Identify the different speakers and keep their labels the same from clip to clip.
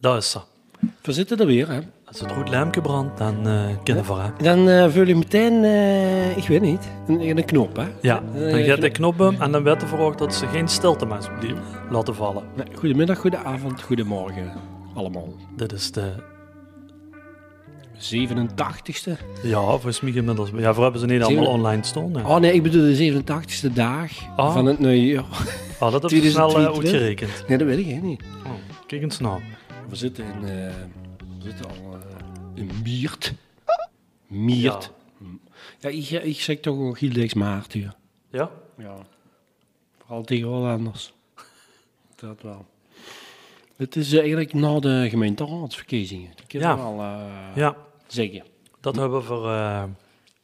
Speaker 1: dat is dat.
Speaker 2: We zitten er weer, hè.
Speaker 1: Als het rood lampje brandt, dan eh kennen we haar.
Speaker 2: Dan eh, vul je meteen, eh, ik weet niet, een, een knop, hè.
Speaker 1: Ja,
Speaker 2: Eh,
Speaker 1: dan gaat de knoppen en dan werd er verwacht dat ze geen stilte maar alsjeblieft laten vallen.
Speaker 2: Nee, Goedemiddag, goedenavond, goedemorgen, allemaal.
Speaker 1: Dit is de...
Speaker 2: 87ste.
Speaker 1: Ja, volgens mij inmiddels... Ja, voor hebben ze niet allemaal
Speaker 2: Zien we-
Speaker 1: online staan. hè.
Speaker 2: Oh nee, ik bedoel de 87ste dag
Speaker 1: Oh.
Speaker 2: van het nieuwe jaar.
Speaker 1: Ah, dat heb je snel eh,
Speaker 2: 2022.
Speaker 1: uitgerekend.
Speaker 2: Nee, dat weet ik echt niet.
Speaker 1: Oh, kijk eens nou.
Speaker 2: We zitten in, eh, we zitten al eh, in Miert. Miert. Ja, ik, ik zeg toch een Gildex Maart hier.
Speaker 1: Ja?
Speaker 2: Ja. Vooral tegen Hollanders. Dat wel. Het is eh, eigenlijk na de gemeenteraadsverkiezingen. Dat kan
Speaker 1: Ja.
Speaker 2: je wel eh,
Speaker 1: Ja,
Speaker 2: zeggen.
Speaker 1: dat hebben we voor, eh,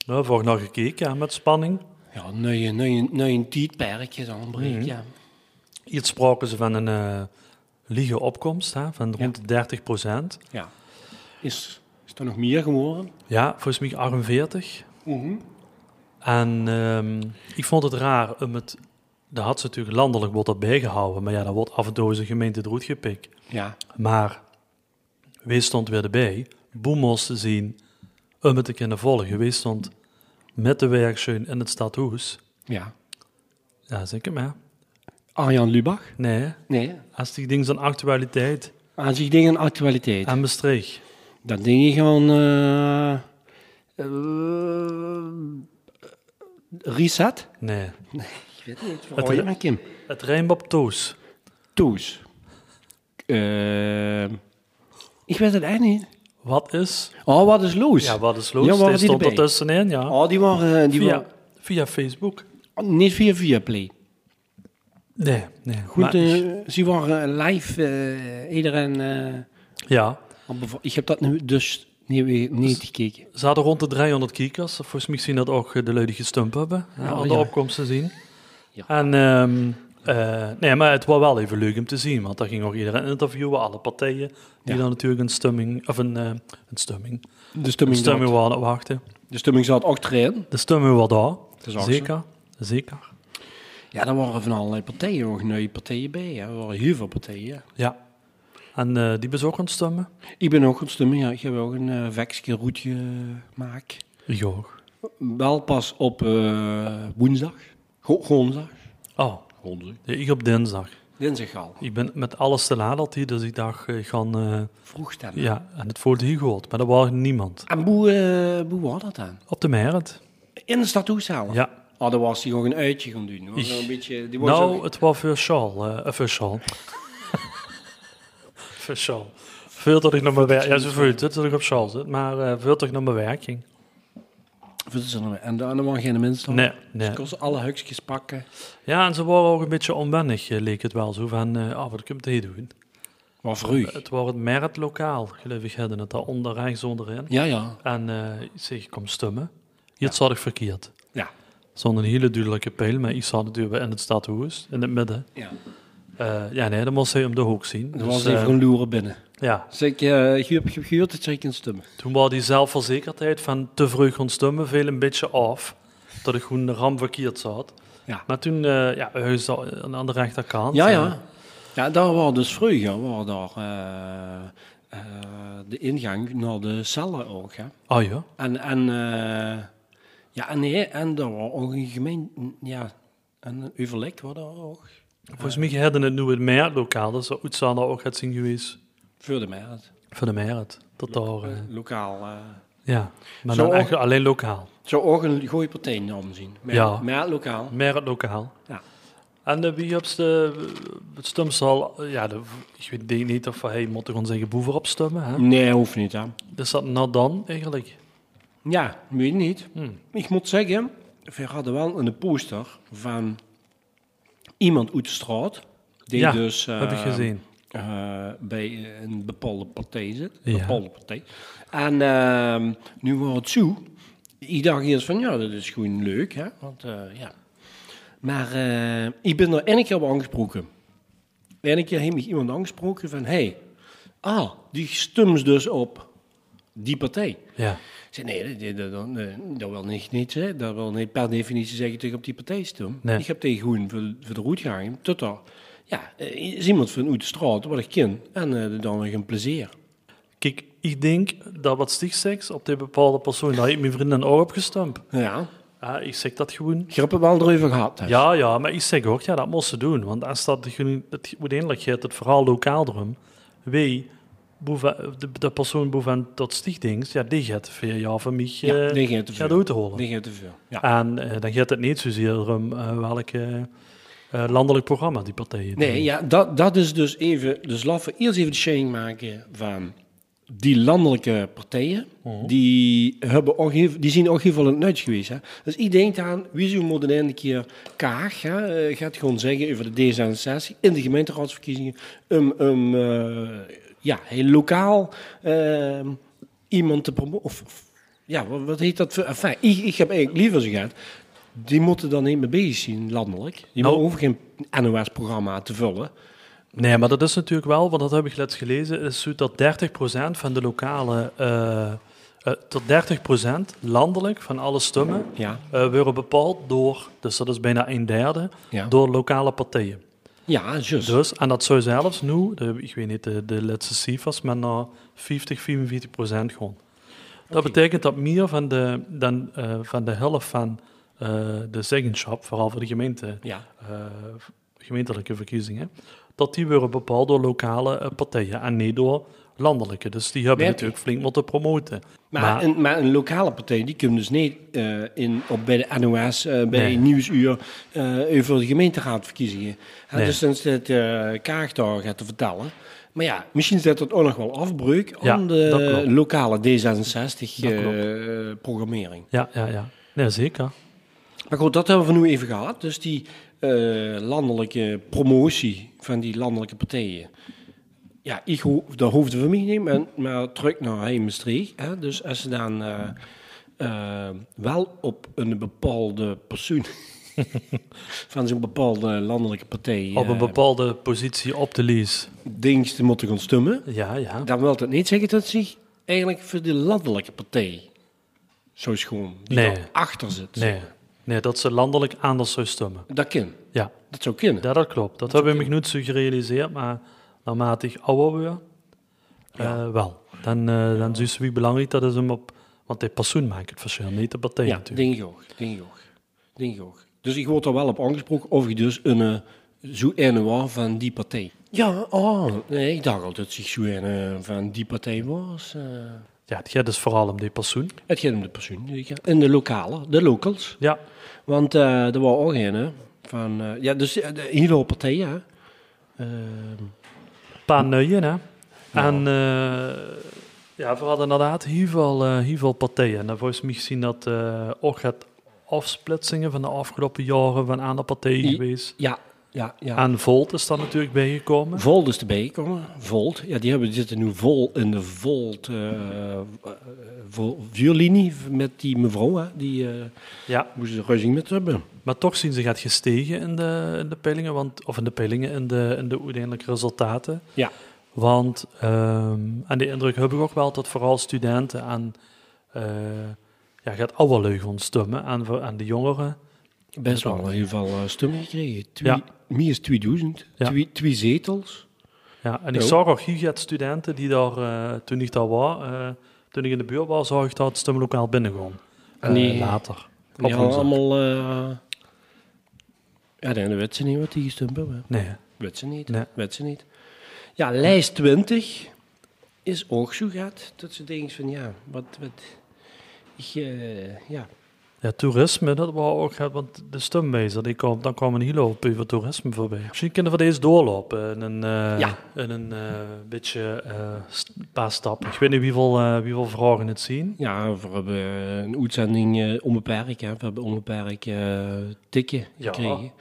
Speaker 1: nou, voor nog gekeken hè, met spanning.
Speaker 2: Ja, nee, nee, nee, een tijdperkje dan breekt, ja.
Speaker 1: Hier spraken ze van een eh liege opkomst hè, van rond de 30 procent.
Speaker 2: ja. Is, is er nog meer geworden?
Speaker 1: Ja, volgens mij 48.
Speaker 2: Mhm.
Speaker 1: En ehm, ik vond het raar om het. Daar had ze natuurlijk landelijk wordt dat bijgehouden, maar ja, dat wordt af en toe eens een gemeente het roet gepikt.
Speaker 2: Ja.
Speaker 1: Maar wees stond weer erbij, boemels te zien om het te kunnen volgen. Wees stond met de werksteun in het stadhuis.
Speaker 2: Ja.
Speaker 1: Ja, zeker maar.
Speaker 2: Arjan Lubach?
Speaker 1: Nee,
Speaker 2: Nee.
Speaker 1: als die ding zijn actualiteit
Speaker 2: Aan zich dingen actualiteit.
Speaker 1: en bestreeg.
Speaker 2: Dan denk je gewoon... eh, eh, reset?
Speaker 1: Nee,
Speaker 2: Ik weet niet.
Speaker 1: Het-
Speaker 2: Verhoor je met Kim?
Speaker 1: het rijmt op toes.
Speaker 2: Toes. Eh, ik weet het eigenlijk niet.
Speaker 1: Wat is?
Speaker 2: Oh, wat is los?
Speaker 1: Ja, wat is
Speaker 2: Ja,
Speaker 1: los?
Speaker 2: waar
Speaker 1: Ja,
Speaker 2: was die
Speaker 1: stond er
Speaker 2: erbij?
Speaker 1: tussenin, ja.
Speaker 2: Oh, die waren... eh, Die
Speaker 1: via,
Speaker 2: waren oh,
Speaker 1: via Facebook.
Speaker 2: niet via Viaplay.
Speaker 1: Nee, nee.
Speaker 2: Goed,
Speaker 1: maar-
Speaker 2: eh ze waren live. eh, iedereen... eh,
Speaker 1: ja,
Speaker 2: al bevo- ik heb dat nu dus niet, niet gekeken.
Speaker 1: ze hadden rond de 300 kijkers. Volgens mij zien dat ook eh, de leden gestumpt hebben. hè,
Speaker 2: Ja, oh
Speaker 1: aan de
Speaker 2: ja.
Speaker 1: opkomst te zien.
Speaker 2: Ja.
Speaker 1: En, ehm, eh, nee, maar het was wel even leuk om te zien. Want daar ging ook iedereen interviewen. Alle partijen die
Speaker 2: Ja.
Speaker 1: dan natuurlijk een stemming... Of een, eh, een stemming.
Speaker 2: De
Speaker 1: Een
Speaker 2: stemming,
Speaker 1: stemming
Speaker 2: zat,
Speaker 1: waren aan het wachten.
Speaker 2: de stemming zat ook erin.
Speaker 1: De stemming was
Speaker 2: is
Speaker 1: daar.
Speaker 2: ook zo.
Speaker 1: Zeker. Zeker.
Speaker 2: Ja, daar waren van allerlei partijen, ook nieuwe partijen bij. Hè. Er waren heel veel partijen.
Speaker 1: Ja. En eh, die bezoeken stemmen?
Speaker 2: Ik ben ook een stemmen, ja. Ik heb ook een eh vekske roetje gemaakt.
Speaker 1: Joog.
Speaker 2: Wel pas op eh, woensdag. Go- Gonzag.
Speaker 1: Oh,
Speaker 2: Gonzag.
Speaker 1: ja, ik op dinsdag.
Speaker 2: Dinsdag al.
Speaker 1: Ik ben met alles te laat al die, dus ik dacht, ik ga... eh,
Speaker 2: Vroeg stemmen.
Speaker 1: Ja, en het voelde heel goed, maar er was niemand.
Speaker 2: En hoe, eh, hoe was dat dan?
Speaker 1: Op de merit.
Speaker 2: In de stad zelf?
Speaker 1: Ja.
Speaker 2: Oh, daar was hij nog een uitje gaan doen. Was
Speaker 1: Ik-
Speaker 2: een beetje, die was
Speaker 1: Nou,
Speaker 2: ook-
Speaker 1: het was veel sjaal. eh, eh, veel sjaal. Veel sjaal. Veel dat ik naar mijn werk... Ja, zo voelt het dat ik op sjaal zit, maar eh, veel dat ik naar mijn werk ging.
Speaker 2: Wat is er nou? En daar waren geen mensen.
Speaker 1: Nee,
Speaker 2: Dus
Speaker 1: nee.
Speaker 2: ik kon alle hukjes pakken.
Speaker 1: Ja, en ze waren ook een beetje onwennig, eh, leek het wel. Zo van, eh ah, wat komt hier doen?
Speaker 2: Maar vroeg.
Speaker 1: Het was het merit lokaal, geloof ik, hadden het daar onder, rechts onderin.
Speaker 2: Ja, ja.
Speaker 1: En eh, ik zeg, ik kom stemmen. Hier zat ik verkeerd.
Speaker 2: Ja.
Speaker 1: Zonder een hele duidelijke pijl, maar ik zat natuurlijk in het stadhuis, in het midden.
Speaker 2: ja.
Speaker 1: Eh, ja, nee, dan moest hij om de hoek zien.
Speaker 2: Er
Speaker 1: Dus,
Speaker 2: was
Speaker 1: eh,
Speaker 2: even een loeren binnen.
Speaker 1: ja.
Speaker 2: Zeg, eh, je hebt gehuurd, het zeker een stem.
Speaker 1: Toen was die zelfverzekerdheid van te vroeg gaan stemmen veel een beetje af. Dat ik gewoon de ram verkeerd zat.
Speaker 2: Ja.
Speaker 1: Maar toen, eh ja, huis aan aan de rechterkant.
Speaker 2: Ja,
Speaker 1: eh,
Speaker 2: ja. Ja, daar waren dus vroeger waren daar, eh, eh, de ingang naar de cellen ook. Hè.
Speaker 1: Ah ja.
Speaker 2: En, en, eh, ja, en, nee, en daar was ook een gemeen... Ja, en een overleg was daar ook.
Speaker 1: Volgens mij hadden het nu het Meertlokaal. Dus dat zou daar ook het zien geweest
Speaker 2: Voor de meid.
Speaker 1: voor de Meert. Dat daar, eh,
Speaker 2: Lokaal. eh
Speaker 1: ja. Maar
Speaker 2: Zo
Speaker 1: dan
Speaker 2: ook-
Speaker 1: eigenlijk alleen lokaal.
Speaker 2: zou ook een goede partijnaam zien. Maar,
Speaker 1: Ja.
Speaker 2: maar lokaal.
Speaker 1: Meertlokaal.
Speaker 2: Ja.
Speaker 1: En de wie op de, het stemzaal, eh, ja, de, ik weet denk niet of hij moet gewoon zeggen boever opstemmen. Hè?
Speaker 2: Nee, hoeft niet hè.
Speaker 1: Dus dat nou dan eigenlijk.
Speaker 2: Ja, weet niet.
Speaker 1: Hmm.
Speaker 2: Ik moet zeggen, we hadden wel een poster van iemand uit de straat. Die
Speaker 1: Ja,
Speaker 2: dus, eh,
Speaker 1: heb ik gezien.
Speaker 2: eh, bij een bepaalde partij zit.
Speaker 1: Ja.
Speaker 2: Bepaalde partij. En ehm, nu wordt het zo. Ik dacht eerst van, ja, dat is gewoon leuk. Hè? Want, eh, ja. Maar eh, ik ben er één keer op aangesproken. Eén keer heeft mij iemand aangesproken van... hey, ah, die stemt dus op die partij.
Speaker 1: Ja.
Speaker 2: Ik zei, nee, dat, dat, dat, dat- dat wil niet, niet, hè. dat wil niet per definitie zeggen dat ik op die partij stem.
Speaker 1: Nee.
Speaker 2: Ik heb tegen Groen voor, voor de roet gehangen, tot er ja, eh, is iemand van uit de straat wat ik ken en eh, dan nog een plezier.
Speaker 1: Kijk, ik denk dat wat Stig zegt op die bepaalde persoon, dat ik mijn vrienden ook opgestampt.
Speaker 2: Ja,
Speaker 1: Ja, ik zeg dat gewoon.
Speaker 2: grappen wel erover gehad. hè.
Speaker 1: Ja, ja, maar ik zeg ook, ja, dat moest ze doen. Want als dat, genu- het, uiteindelijk gaat het verhaal lokaal erom. Wie, boeven- de, de persoon boven tot stichtings, ja, die gaat vier jaar van mij
Speaker 2: Ja,
Speaker 1: eh,
Speaker 2: die gaat te
Speaker 1: gaat
Speaker 2: veel.
Speaker 1: uitholen.
Speaker 2: Die gaat te veel. Ja.
Speaker 1: En eh, dan gaat het niet zozeer om eh, welk eh, eh, landelijk programma die partijen
Speaker 2: Nee,
Speaker 1: doen.
Speaker 2: ja, dat, dat is dus even. Dus laten we eerst even de sharing maken van die landelijke partijen. Die, hebben ook heel- die zien ook heel veel in het nut geweest. Hè. Dus ik denk aan Wieso moet een einde keer Kaag hè, eh, gaat gewoon zeggen over de D66 in de gemeenteraadsverkiezingen. Um, um, eh, ja, heel lokaal eh, iemand te promoten. Of, of- ja, wat, wat heet dat? voor- Enfin, ik, ik heb eigenlijk liever zo gehad. Die moeten dan niet mee bezig zien, landelijk. Je
Speaker 1: Nou,
Speaker 2: moet hoeft geen NOS-programma te vullen.
Speaker 1: Nee, maar dat is natuurlijk wel, want dat heb ik laatst gelezen, is zo dat 30% van de lokale, eh, eh, tot 30% landelijk van alle stemmen
Speaker 2: Ja,
Speaker 1: eh worden bepaald door, dus dat is bijna een derde,
Speaker 2: Ja.
Speaker 1: door lokale partijen.
Speaker 2: ja juist.
Speaker 1: Dus, en dat zou zelfs nu, de- ik weet niet de, de laatste cijfers, maar naar 50, 45 procent gewoon. Dat betekent dat meer van de, dan, eh, van de helft van eh, de zeggenschap, vooral voor de gemeente,
Speaker 2: Ja,
Speaker 1: eh, gemeentelijke verkiezingen, dat die worden bepaald door lokale eh, partijen en niet door landelijke. Dus die hebben
Speaker 2: Merk je?
Speaker 1: natuurlijk flink moeten promoten.
Speaker 2: maar,
Speaker 1: Maar-
Speaker 2: een, maar een lokale partij die kunnen dus niet eh, in, op, bij de NOS, eh, bij
Speaker 1: Nee.
Speaker 2: Nieuwsuur, eh over de gemeenteraadverkiezingen. En
Speaker 1: Nee.
Speaker 2: Dus dan zit eh, Kaag daar gaat te vertellen. Maar ja, misschien zet dat ook nog wel afbreuk
Speaker 1: Ja,
Speaker 2: aan
Speaker 1: dat
Speaker 2: de
Speaker 1: klopt.
Speaker 2: lokale eh,
Speaker 1: Dat klopt.
Speaker 2: D66-programmering.
Speaker 1: Ja, ja, ja. Nee, zeker.
Speaker 2: Maar goed, dat hebben we nu even gehad. Dus die eh, landelijke promotie van die landelijke partijen. Ja, ik ho- dat hoefde voor mij niet, maar, maar terug naar Heemstreek. Hè. Dus als ze dan eh, eh, wel op een bepaalde persoon van zo'n bepaalde landelijke partij
Speaker 1: Op een
Speaker 2: eh,
Speaker 1: bepaalde positie op de lease.
Speaker 2: diensten moeten gaan stemmen,
Speaker 1: Ja, ja.
Speaker 2: dan wil dat niet zeggen dat ze zich eigenlijk voor de landelijke partij zo schoon, die
Speaker 1: Nee.
Speaker 2: daar achter zit.
Speaker 1: Nee. nee, dat ze landelijk anders zou stemmen.
Speaker 2: Dat kan,
Speaker 1: Ja.
Speaker 2: dat zou kunnen.
Speaker 1: Ja, dat klopt. Dat hebben we nog niet zo gerealiseerd, maar naarmate ik ouder word, eh, wel. Dan, eh dan zie je wie belangrijk dat is om op... Want de persoon maakt het verschil, niet de partij
Speaker 2: Ja,
Speaker 1: natuurlijk.
Speaker 2: denk ik ook. Denk ik ook. Denk ik ook. Dus ik word er wel op aangesproken of ik dus een eh, zo ene was van die partij. Ja, oh. Nee, ik dacht altijd dat ik zo ene van die partij was. eh.
Speaker 1: Ja, het gaat dus vooral om die persoon.
Speaker 2: het gaat om de persoon. weet je. En de lokale, de locals.
Speaker 1: Ja,
Speaker 2: Want eh, er was ook een van... eh, ja, dus eh, de hele partij, hè. Ehm,
Speaker 1: een paar nuien, hè. En eh, ja, we hadden inderdaad heel veel, eh, heel veel partijen. En dan volgens mij gezien dat eh, ook het afsplitsingen van de afgelopen jaren van aan de partijen
Speaker 2: I-
Speaker 1: geweest.
Speaker 2: ja, ja, ja.
Speaker 1: En Volt is daar natuurlijk bijgekomen.
Speaker 2: Volt is erbij gekomen. Volt. Ja, die, hebben, die zitten nu vol in de Volt eh, eh, vol- vuurlinie met die mevrouw. Hè, die eh,
Speaker 1: Ja,
Speaker 2: moesten ze reuzing met hebben.
Speaker 1: Maar toch zien ze gaat gestegen in de, in de peilingen, want, of in de peilingen, in de, in de uiteindelijke resultaten.
Speaker 2: Ja.
Speaker 1: Want ehm aan die indruk heb ik ook wel dat vooral studenten aan eh, ja, gaat oude lui gaan stemmen aan, voor- aan de jongeren.
Speaker 2: Best wel in ieder geval eh, stemmen gekregen. Twee,
Speaker 1: Ja.
Speaker 2: Meer is 2000.
Speaker 1: Ja.
Speaker 2: Twee, twee zetels.
Speaker 1: Ja, en ik
Speaker 2: Jo.
Speaker 1: zag ook hier gaat studenten die daar, eh, toen ik daar was, eh, toen ik in de buurt was, zag ik dat het stemlokaal binnengaan.
Speaker 2: En die-
Speaker 1: Eh, later.
Speaker 2: Die
Speaker 1: Op
Speaker 2: hadden
Speaker 1: woensdag.
Speaker 2: allemaal... eh, ja, dan weten ze niet wat die gestemd hebben.
Speaker 1: Nee,
Speaker 2: Weet ze niet.
Speaker 1: Nee.
Speaker 2: Weet ze niet. Ja, lijst 20 is ook zo gaat. Dat ze denken van, ja, wat... wat ik, eh, ja,
Speaker 1: ja, toerisme, dat was ook, gaat, want de stemwijzer, die kwam, dan kwam een hele hoop over toerisme voorbij. Misschien kunnen we deze doorlopen in een, eh,
Speaker 2: Ja.
Speaker 1: in een eh, beetje, eh, st- paar stappen. Ik weet niet wie wil, eh, wie wil vragen het zien.
Speaker 2: Ja, we hebben een uitzending eh, onbeperkt. Hè. We hebben onbeperkt eh, tikken
Speaker 1: Ja.
Speaker 2: gekregen.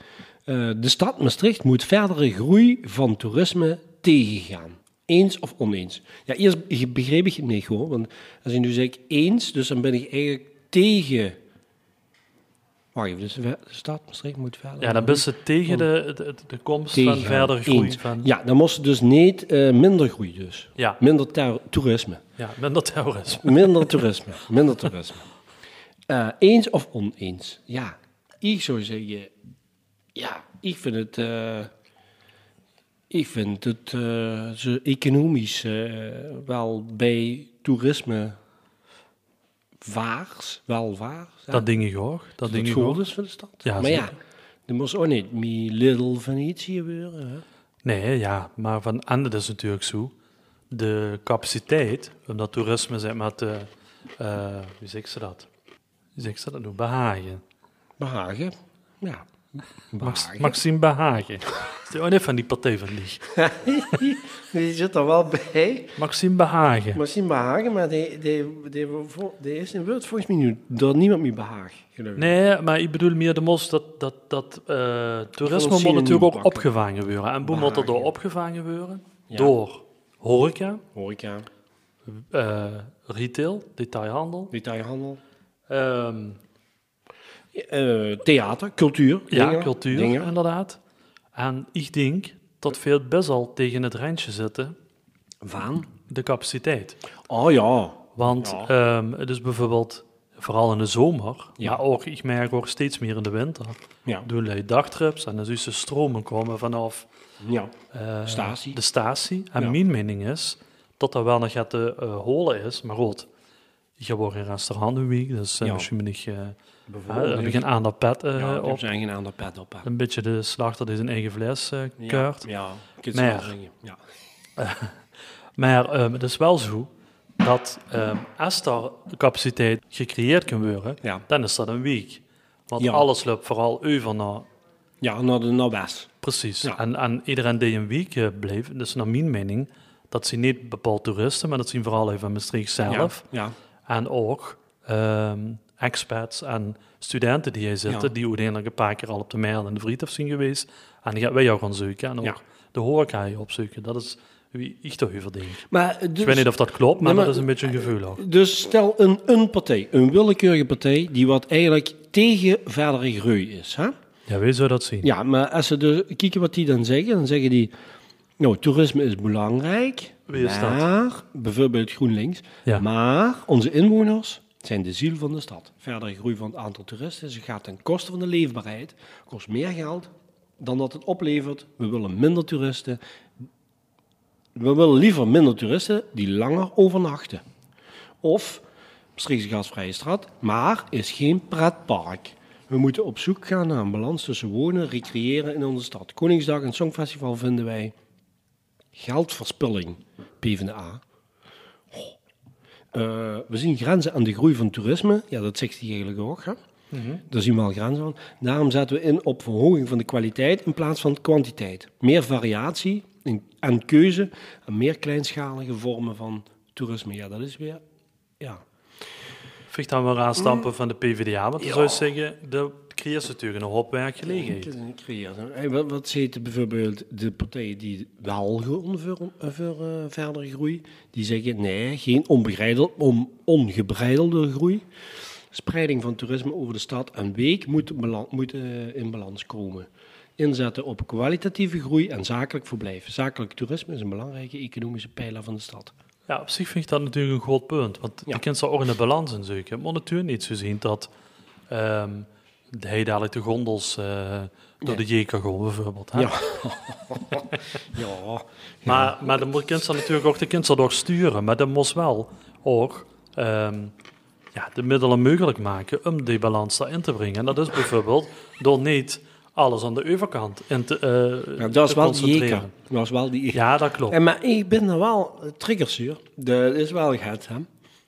Speaker 2: Eh, de stad Maastricht moet verdere groei van toerisme tegengaan. Eens of oneens? Ja, eerst be- begreep ik het niet hoor. Want als ik nu zeg eens, dus dan ben ik eigenlijk tegen. Wacht even, dus we- de stad Maastricht moet verder.
Speaker 1: Ja, dan ben je tegen de, de, de komst van
Speaker 2: Tegengaan.
Speaker 1: verdere groei.
Speaker 2: Eens.
Speaker 1: Van, ja.
Speaker 2: Ja, dan moest dus niet eh, minder groei dus.
Speaker 1: Ja,
Speaker 2: Minder ter- toerisme.
Speaker 1: ja, minder terrorisme.
Speaker 2: Minder toerisme. Minder toerisme. Eh, eens of oneens? Ja, ik zou zeggen, ja, ik vind het, eh, Ik vind dat eh, ze economisch eh, wel bij toerisme waars, wel waar. zijn.
Speaker 1: Dat ding ik ook. Dat
Speaker 2: dat
Speaker 1: ding
Speaker 2: het
Speaker 1: ik
Speaker 2: goed
Speaker 1: ook.
Speaker 2: is voor de stad.
Speaker 1: Ja,
Speaker 2: maar ja,
Speaker 1: zeker.
Speaker 2: er moest ook niet meer Little Venetië gebeuren. Hè?
Speaker 1: Nee, ja, maar van en dat is natuurlijk zo. De capaciteit, omdat toerisme zeg maar te, eh, hoe zeg ze dat? Hoe zeg ze dat nu? Behagen.
Speaker 2: Behagen, ja.
Speaker 1: Max,
Speaker 2: Behagen.
Speaker 1: Maxime Behagen. Oh nee, van die partij van die.
Speaker 2: Die zit er wel bij.
Speaker 1: Maxime Behagen.
Speaker 2: Misschien behagen, maar die, die, die, die is in Word volgens mij nu door niemand meer behaag. geloof ik.
Speaker 1: Nee, maar ik bedoel meer de mos dat, dat, dat eh, toerisme
Speaker 2: ons
Speaker 1: moet
Speaker 2: zien
Speaker 1: natuurlijk ook
Speaker 2: pakken.
Speaker 1: opgevangen worden. En boem moet er door
Speaker 2: Behagen.
Speaker 1: opgevangen worden.
Speaker 2: Ja.
Speaker 1: Door horeca,
Speaker 2: Horeca,
Speaker 1: eh, retail, detailhandel.
Speaker 2: detailhandel,
Speaker 1: ehm,
Speaker 2: eh, theater, cultuur.
Speaker 1: Ja,
Speaker 2: dingen,
Speaker 1: cultuur,
Speaker 2: dingen.
Speaker 1: inderdaad. En ik denk dat veel best al tegen het randje zitten,
Speaker 2: Vaan.
Speaker 1: de capaciteit.
Speaker 2: Oh ja.
Speaker 1: Want
Speaker 2: Ja.
Speaker 1: ehm, het is bijvoorbeeld, vooral in de zomer,
Speaker 2: Ja.
Speaker 1: maar ook, ik merk ook steeds meer in de winter,
Speaker 2: Ja.
Speaker 1: doen wij dagtrips en dan zien ze stromen komen vanaf
Speaker 2: ja.
Speaker 1: eh,
Speaker 2: Statie.
Speaker 1: de statie. En
Speaker 2: Ja.
Speaker 1: mijn mening is dat er wel nog gaat te eh, holen is, maar goed. Je wordt in restaurant een week, dus eh,
Speaker 2: Ja.
Speaker 1: misschien ben ik, eh,
Speaker 2: Bijvoorbeeld.
Speaker 1: heb ik een aan dat pet eh,
Speaker 2: ja, ik heb
Speaker 1: op.
Speaker 2: zijn geen ander pet op. hè.
Speaker 1: Een beetje de slachter die zijn eigen fles eh,
Speaker 2: Ja,
Speaker 1: keurt.
Speaker 2: Ja, ik kan het zo
Speaker 1: Maar ja.
Speaker 2: zeggen. Ja.
Speaker 1: Maar ehm, het is wel zo dat ehm als daar capaciteit gecreëerd kan worden,
Speaker 2: Ja.
Speaker 1: dan is dat een week. Want
Speaker 2: Ja.
Speaker 1: alles loopt vooral over naar.
Speaker 2: ja, naar de naar West.
Speaker 1: Precies.
Speaker 2: Ja.
Speaker 1: En, en iedereen die een week eh, blijft, dus naar mijn mening, dat zien niet bepaald toeristen, maar dat zien vooral even Maastricht zelf.
Speaker 2: Ja.
Speaker 1: En ook ehm, expats en studenten die hier zitten,
Speaker 2: Ja.
Speaker 1: die uiteindelijk een paar keer al op de mijl en de Vriethof zijn geweest. En die gaan wij jou gaan zoeken. En ook
Speaker 2: Ja.
Speaker 1: de horeca hier opzoeken. Dat is wie ik toch over denk.
Speaker 2: Maar eh, dus,
Speaker 1: Ik weet niet of dat klopt, maar,
Speaker 2: Nee, maar-
Speaker 1: dat is een beetje een gevoel ook.
Speaker 2: dus stel een, een partij, een willekeurige partij, die wat eigenlijk tegen verdere groei is. Hè?
Speaker 1: Ja, wij zouden dat zien.
Speaker 2: Ja, maar als ze dus kijken wat die dan zeggen, dan zeggen die, nou, toerisme is belangrijk,
Speaker 1: Wie is dat?
Speaker 2: maar, bijvoorbeeld GroenLinks,
Speaker 1: Ja.
Speaker 2: maar onze inwoners zijn de ziel van de stad. Verdere groei van het aantal toeristen ze gaat ten koste van de leefbaarheid, kost meer geld dan dat het oplevert. We willen minder toeristen. We willen liever minder toeristen die langer overnachten. Of Maastrichtse gasvrije straat, maar is geen pretpark. We moeten op zoek gaan naar een balans tussen wonen, recreëren in onze stad. Koningsdag en Songfestival vinden wij geldverspilling, PvdA. Oh. Eh, we zien grenzen aan de groei van toerisme. Ja, dat zegt hij eigenlijk ook. Hè? Daar zien we al grenzen aan. Daarom zetten we in op verhoging van de kwaliteit in plaats van kwantiteit. Meer variatie en- en keuze en meer kleinschalige vormen van toerisme. Ja, dat is weer... Ja,
Speaker 1: Vind dan wel aanstampen van de PvdA, want dan
Speaker 2: Ja.
Speaker 1: zou je zeggen, de creëert ze natuurlijk een hoop werkgelegenheid.
Speaker 2: Kunnen creëren. Hey, Wat, wat zitten bijvoorbeeld de partijen die wel gaan voor, voor eh, verdere groei? Die zeggen nee, geen onbegrijdel- on- ongebreidelde groei. Spreiding van toerisme over de stad en week moet, bala- moet eh, in balans komen. Inzetten op kwalitatieve groei en zakelijk verblijf. Zakelijk toerisme is een belangrijke economische pijler van de stad.
Speaker 1: Ja, op zich vind ik dat natuurlijk een groot punt, want
Speaker 2: Ja.
Speaker 1: je kunt ze ook in de balans in zoeken. Het moet natuurlijk niet zo zien dat ehm de hij dadelijk de gondels eh, door de J kan gaan, bijvoorbeeld. Hè?
Speaker 2: Ja. Ja,
Speaker 1: Maar, maar dan moet- kun je ze natuurlijk ook de kinderen door sturen, maar dat moest wel ook... ehm, ja, de middelen mogelijk maken om die balans daarin te brengen. En dat is bijvoorbeeld door niet alles aan de overkant in te, eh,
Speaker 2: ja Nou, dat, is
Speaker 1: te
Speaker 2: wel die
Speaker 1: concentreren.
Speaker 2: Jeka. dat is wel die E Jeka.
Speaker 1: Ja, dat klopt.
Speaker 2: En, Eh, maar ik ben er wel eh, triggerzuur. Dat is wel gaat, hè.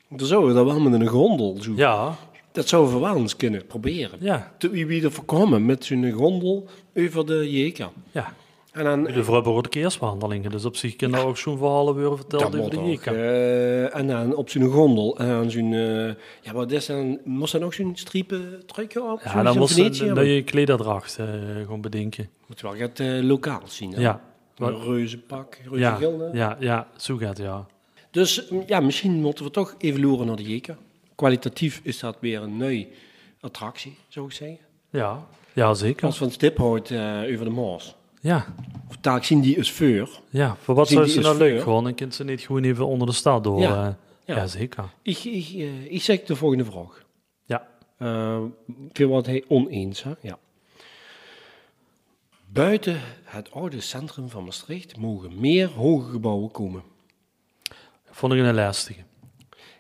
Speaker 2: Dan zouden we dat wel met een gondel zoeken.
Speaker 1: Ja,
Speaker 2: Dat zouden we wel eens kunnen proberen.
Speaker 1: ja,
Speaker 2: Te wie wie er voorkomen met zo'n gondel over de Jeka.
Speaker 1: ja.
Speaker 2: En dan...
Speaker 1: De vrouwelijke keersbehandelingen. Dus op zich kunnen daar ook zo'n verhalen worden verteld over
Speaker 2: moet
Speaker 1: de
Speaker 2: ook,
Speaker 1: JK.
Speaker 2: eh, en dan op zo'n gondel. En dan zo'n... eh, ja, wat is dan... Moest dan ook zo'n striepen trucje op?
Speaker 1: Ja,
Speaker 2: Zo'n-
Speaker 1: dan
Speaker 2: zo'n
Speaker 1: moest
Speaker 2: Venetië
Speaker 1: je dat
Speaker 2: hebben?
Speaker 1: je klederdracht eh gewoon bedenken.
Speaker 2: Moet wel het eh, lokaal zien, hè.
Speaker 1: Ja.
Speaker 2: Een reuzenpak,
Speaker 1: Ja,
Speaker 2: reuzengilde.
Speaker 1: ja, ja, zo gaat het, ja.
Speaker 2: Dus mm, ja, misschien moeten we toch even loeren naar de Jeka. Kwalitatief is dat weer een nieuwe attractie, zou ik zeggen.
Speaker 1: Ja, ja zeker.
Speaker 2: Als van stip houdt eh, over de Maas.
Speaker 1: Ja,
Speaker 2: Of taak zien die is veur.
Speaker 1: ja. Voor wat
Speaker 2: Zien
Speaker 1: zou
Speaker 2: die
Speaker 1: ze
Speaker 2: is
Speaker 1: nou
Speaker 2: veel,
Speaker 1: leuk?
Speaker 2: hè?
Speaker 1: Gewoon, dan kind ze niet gewoon even onder de stad door.
Speaker 2: Ja,
Speaker 1: eh.
Speaker 2: ja.
Speaker 1: ja zeker.
Speaker 2: Ik, ik, eh, ik zeg de volgende vraag.
Speaker 1: Ja.
Speaker 2: Eh, veel wat hij oneens, hè? Ja. Buiten het oude centrum van Maastricht mogen meer hoge gebouwen komen.
Speaker 1: Vond ik een lastige.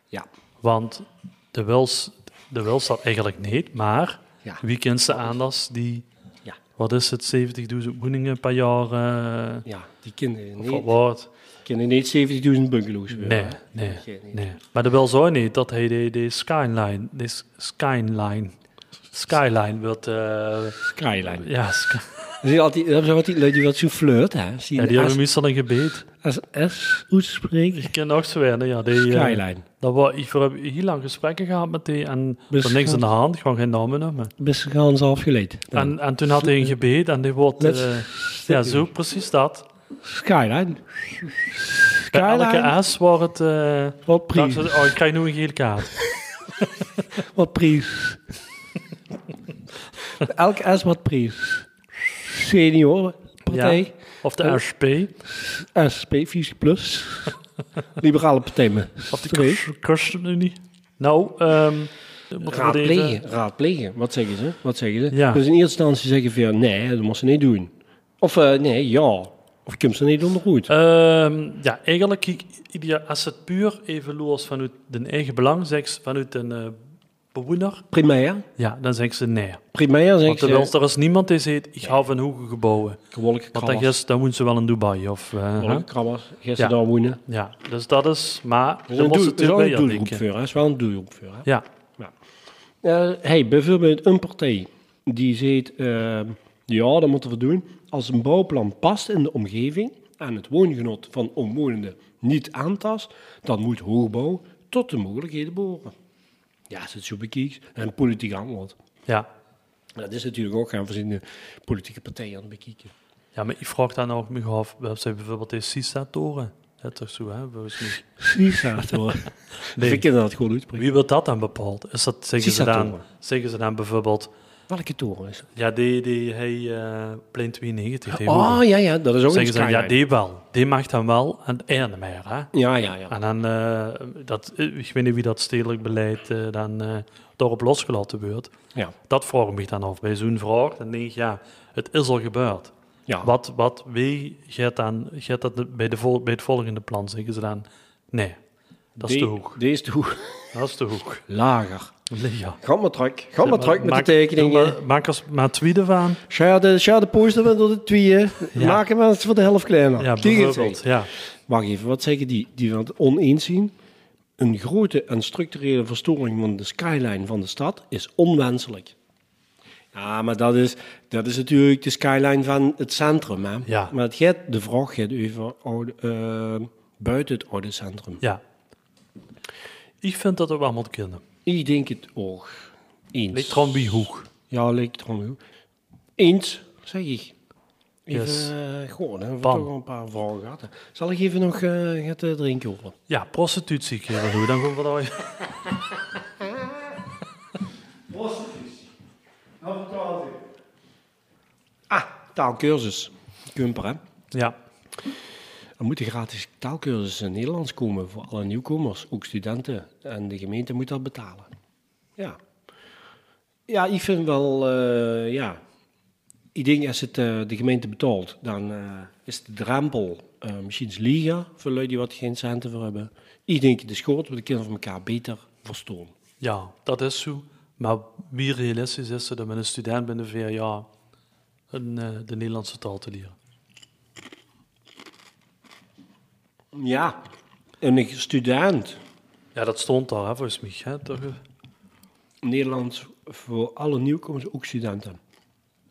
Speaker 2: Ja.
Speaker 1: Want de Wels, de Wels dat eigenlijk niet, maar
Speaker 2: Ja.
Speaker 1: wie kent de aandas die,
Speaker 2: Ja.
Speaker 1: wat is het, 70.000 woningen per jaar, eh,
Speaker 2: Ja, die kinderen
Speaker 1: of wat
Speaker 2: niet,
Speaker 1: wordt?
Speaker 2: kinderen niet 70.000 bungalows willen,
Speaker 1: Nee,
Speaker 2: hè?
Speaker 1: nee,
Speaker 2: Dat geeft niet.
Speaker 1: nee. Maar dat wil zo niet dat hij de, de skyline, de s- skyline, skyline wilt, eh,
Speaker 2: Skyline.
Speaker 1: ja, sky-
Speaker 2: Dat is altijd, dat is altijd leuk, die wat zo flirt, hè? Zie
Speaker 1: ja,
Speaker 2: je
Speaker 1: die
Speaker 2: als,
Speaker 1: hebben meestal een gebeet.
Speaker 2: als S uitspreekt.
Speaker 1: Ik ken nog zo weinig, ja. Die, eh,
Speaker 2: Skyline.
Speaker 1: dat was, ik heb heel lang gesprekken gehad met die en
Speaker 2: Dus
Speaker 1: er niks
Speaker 2: gaat-
Speaker 1: aan de hand, gewoon geen namen noemen.
Speaker 2: Best gaan ze afgeleid. Dan.
Speaker 1: En, en toen had hij een gebed en die wordt,
Speaker 2: Let's
Speaker 1: eh, ja, zo precies dat.
Speaker 2: Skyline.
Speaker 1: Bij
Speaker 2: Skyline.
Speaker 1: elke S wordt het, eh,
Speaker 2: Wat
Speaker 1: dacht
Speaker 2: prijs.
Speaker 1: ze, oh, ik krijg nu een gele kaart.
Speaker 2: Wat prijs. Elke S wat prijs. Seniorenpartij.
Speaker 1: Of
Speaker 2: Eh?
Speaker 1: de SP,
Speaker 2: SP, 4 plus. Liberale partij. me.
Speaker 1: of de
Speaker 2: Twee.
Speaker 1: Christ- ChristenUnie. Nou, ehm, moeten we deze-
Speaker 2: Raadplegen, raadplegen. Wat zeggen ze? Wat zeggen ze?
Speaker 1: Ja.
Speaker 2: Dus in eerste instantie zeggen van ja, nee, dat moest ze niet doen. Of eh, nee, ja. Of komt ze niet onder goed.
Speaker 1: Ehm, ja, eigenlijk, ik, ik- ja, als het puur even los vanuit de eigen belang, zeg ze vanuit een eh, bewoner,
Speaker 2: Primair.
Speaker 1: ja, dan zeggen ze nee.
Speaker 2: Primair
Speaker 1: Want
Speaker 2: zeggen
Speaker 1: terwijl
Speaker 2: ze.
Speaker 1: er is niemand die zegt, ik hou van hoge gebouwen.
Speaker 2: Gewolke
Speaker 1: Want dan,
Speaker 2: krabbers.
Speaker 1: is, dan moeten ze wel in Dubai. Of, eh,
Speaker 2: Gewolke
Speaker 1: hè?
Speaker 2: krabbers.
Speaker 1: Ja.
Speaker 2: Gisteren daar wonen.
Speaker 1: ja, dus dat is, maar
Speaker 2: Dat
Speaker 1: dan was
Speaker 2: is
Speaker 1: het
Speaker 2: een doel- dat is wel een
Speaker 1: natuurlijk wel
Speaker 2: doelgroep
Speaker 1: denken.
Speaker 2: voor, hè. Dat is wel een doelgroep voor, hè.
Speaker 1: Ja,
Speaker 2: Eh, hey, bijvoorbeeld een partij die zegt, eh, ja, dat moeten we doen. Als een bouwplan past in de omgeving en het woongenot van omwonenden niet aantast, dan moet hoogbouw tot de mogelijkheden behoren. Ja, als het zo bekijkt. En politiek antwoord.
Speaker 1: ja.
Speaker 2: Dat is natuurlijk ook gaan verschillende politieke partijen aan het bekijken.
Speaker 1: ja, maar ik vraag dan ook me af, we hebben bijvoorbeeld de CISA-toren. Dat is toch zo, hè? Volgens mij.
Speaker 2: Precies, hoor.
Speaker 1: Nee.
Speaker 2: Ik ken dat goed uitspreken.
Speaker 1: Wie wordt dat dan bepaald? Is dat, zeggen, ze dan,
Speaker 2: CISA-toren.
Speaker 1: zeggen ze dan bijvoorbeeld,
Speaker 2: Welke toren is het?
Speaker 1: Ja, die, die hij, eh, plein 92. Die
Speaker 2: Oh,
Speaker 1: hoeren.
Speaker 2: ja, ja, dat is ook een
Speaker 1: zeggen ze, ja,
Speaker 2: skyline.
Speaker 1: die wel. Die mag dan wel en erne meer. Hè?
Speaker 2: Ja, ja, ja.
Speaker 1: En dan, eh, dat, ik weet niet wie dat stedelijk beleid eh, dan eh, daarop losgelaten wordt.
Speaker 2: ja.
Speaker 1: Dat vraag ik me dan af. Bij zo'n vraag, dan denk ik, ja, het is al gebeurd.
Speaker 2: ja.
Speaker 1: Wat, wat, wie gaat, dan, gaat dat bij, de vol, bij het volgende plan? Zeggen ze dan, nee, dat is te
Speaker 2: Die-
Speaker 1: hoog.
Speaker 2: die is te hoog.
Speaker 1: Dat is te hoog.
Speaker 2: Lager.
Speaker 1: Ja.
Speaker 2: Ga maar terug. Ga maar terug met de
Speaker 1: Maak- doe
Speaker 2: tekeningen.
Speaker 1: maar- Maak er maar tweede van.
Speaker 2: Share de, share de poster met de tweeën.
Speaker 1: Ja.
Speaker 2: Maak hem eens voor de helft kleiner.
Speaker 1: Ja,
Speaker 2: Ah, Die geeft
Speaker 1: bijvoorbeeld.
Speaker 2: het.
Speaker 1: Ja.
Speaker 2: Wacht even, wat zeggen die? Die het oneens zien. Een grote en structurele verstoring van de skyline van de stad is onwenselijk. Ja, maar dat is, dat is natuurlijk de skyline van het centrum. Hè?
Speaker 1: Ja.
Speaker 2: Maar het gaat, de vraag gaat over oude, eh, buiten het oude centrum.
Speaker 1: Ja. Ik vind dat we wel moeten kunnen.
Speaker 2: Ik denk het ook. Eens.
Speaker 1: Ligt gewoon wie hoog.
Speaker 2: Ja, lijkt erom. joh. Eens, zeg ik. Even,
Speaker 1: Yes.
Speaker 2: eh, goh, dan hebben we
Speaker 1: Bam.
Speaker 2: toch wel een paar vragen gehad. hè. Zal ik even nog eh het eh, drinken horen?
Speaker 1: Ja, prostitutie, kerel. Hoe dan gewoon wat je...
Speaker 2: Ah, taalkursus. Kumper, hè?
Speaker 1: Ja.
Speaker 2: Er moeten gratis taalkursussen in Nederlands komen voor alle nieuwkomers, ook studenten. En de gemeente moet dat betalen. Ja. Ja, ik vind wel, eh, ja. Ik denk als het eh, de gemeente betaalt, dan eh, is de drempel eh, misschien liga voor lui die wat geen centen voor hebben. Ik denk de schoot, we de kinderen van elkaar beter verstaan.
Speaker 1: ja, dat is zo. Maar wie realistisch is er dat met een student binnen vier jaar een, eh, de Nederlandse taal te leren?
Speaker 2: Ja. En een student,
Speaker 1: Ja, dat stond daar, hè, volgens mij. Hè? Toch, eh,
Speaker 2: Nederlands voor alle nieuwkomers, ook studenten.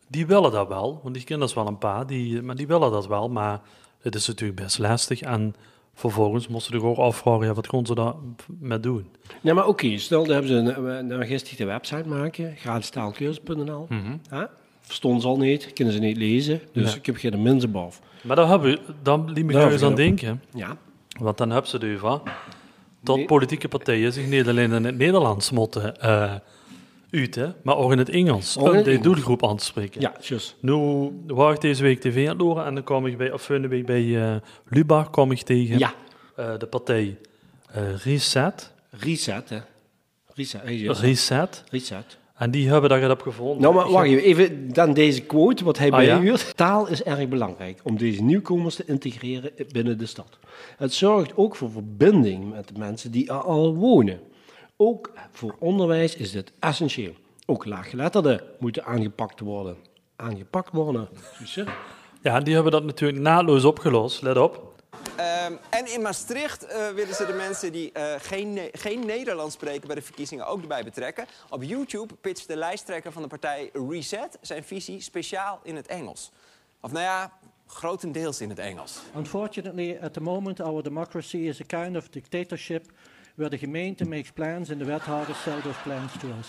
Speaker 1: Die willen dat wel, want ik ken dat wel een paar, die, eh, maar die willen dat wel. Maar het is natuurlijk best lastig. En vervolgens moesten ze ook afvragen, ja, wat konden ze daar met doen?
Speaker 2: Ja, maar oké, stel daar hebben ze een, een, een gisteren de website maken, gratistaalkeurs.nl. Hè? Verstonden ze al niet, kunnen ze niet lezen, dus
Speaker 1: Nee.
Speaker 2: ik heb geen mensen boven.
Speaker 1: Maar daar, hebben, dan liet me
Speaker 2: Daar
Speaker 1: nou, eens aan
Speaker 2: vergeet
Speaker 1: denken.
Speaker 2: Ja,
Speaker 1: Want dan hebben ze de UvA. Dat
Speaker 2: Nee.
Speaker 1: politieke partijen zich niet alleen in het Nederlands moeten eh uiten, maar ook in het Engels.
Speaker 2: Ook in
Speaker 1: Om
Speaker 2: het
Speaker 1: de
Speaker 2: Engels.
Speaker 1: doelgroep aan te spreken.
Speaker 2: ja, tjus.
Speaker 1: Nu was ik deze week tv aan het horen en dan kwam ik bij, of volgende week bij eh, Lubach kwam ik tegen
Speaker 2: Ja,
Speaker 1: eh, de partij eh, Reset.
Speaker 2: reset, hè. Reset, hey, ja.
Speaker 1: Reset.
Speaker 2: reset.
Speaker 1: En die hebben dat heb gevonden.
Speaker 2: Nou, maar wacht even, even dan deze quote, wat hij
Speaker 1: Ah, ja?
Speaker 2: bijhuurt. Taal is erg belangrijk om deze nieuwkomers te integreren binnen de stad. Het zorgt ook voor verbinding met de mensen die er al wonen. Ook voor onderwijs is dit essentieel. Ook laaggeletterden moeten aangepakt worden. Aangepakt worden. Zie je?
Speaker 1: Ja, en die hebben dat natuurlijk naadloos opgelost, let op.
Speaker 3: Ehm, en in Maastricht eh, willen ze de mensen die eh, geen, Ne- geen Nederlands spreken bij de verkiezingen ook erbij betrekken. Op YouTube pitcht de lijsttrekker van de partij Reset zijn visie speciaal in het Engels. Of nou ja, grotendeels in het Engels.
Speaker 4: Unfortunately, at the moment, our democracy is a kind of dictatorship where the gemeente makes plans and the wethouders sell those plans to us.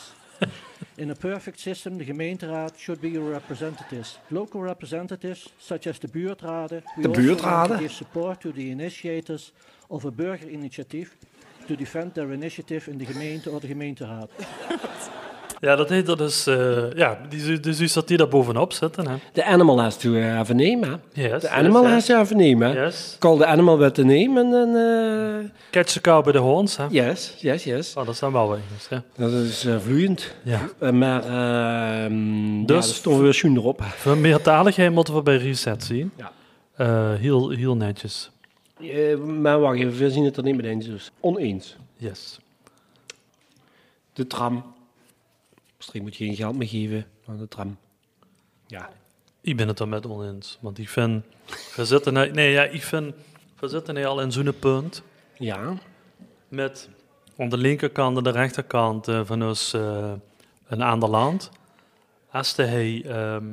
Speaker 4: In a perfect system, the gemeenteraad should be your representatives. Local representatives, such as the buurtraden, we
Speaker 2: De
Speaker 4: also want
Speaker 2: buurtraden?
Speaker 4: to give support to the initiators of a burger initiative to defend their initiative in de gemeente or the gemeenteraad.
Speaker 1: Ja, dat heet dat dus, eh, ja, die, dus is dat die daar bovenop zitten. Hè.
Speaker 2: The animal has to eh, have a name, hè?
Speaker 1: Yes,
Speaker 2: the animal
Speaker 1: yes,
Speaker 2: has to have a name, hè?
Speaker 1: Yes.
Speaker 2: Call the animal with the name and then... eh,
Speaker 1: Catch the cow bij de horns, hè.
Speaker 2: yes, yes, yes.
Speaker 1: Oh, dat zijn wel Engels, hè.
Speaker 2: Dat is eh, vloeiend.
Speaker 1: Ja.
Speaker 2: Eh, maar ehm
Speaker 1: Dus-
Speaker 2: dus ja, er stond weer schoen erop.
Speaker 1: Voor meertaligheid moeten we bij Reset zien.
Speaker 2: Ja.
Speaker 1: Eh, heel, heel netjes.
Speaker 2: Eh, maar wacht even, we zien het er niet met eens dus. Oneens.
Speaker 1: Yes.
Speaker 2: De tram. Misschien moet je geen geld meer geven aan de tram. Ja.
Speaker 1: Ik ben het er met oneens. Want ik vind, we zitten, nou- nee, ja, ik vind, we zitten nu al in zo'n punt
Speaker 2: Ja.
Speaker 1: met aan de linkerkant en de rechterkant eh, van ons eh, een ander land. Als de hij ehm,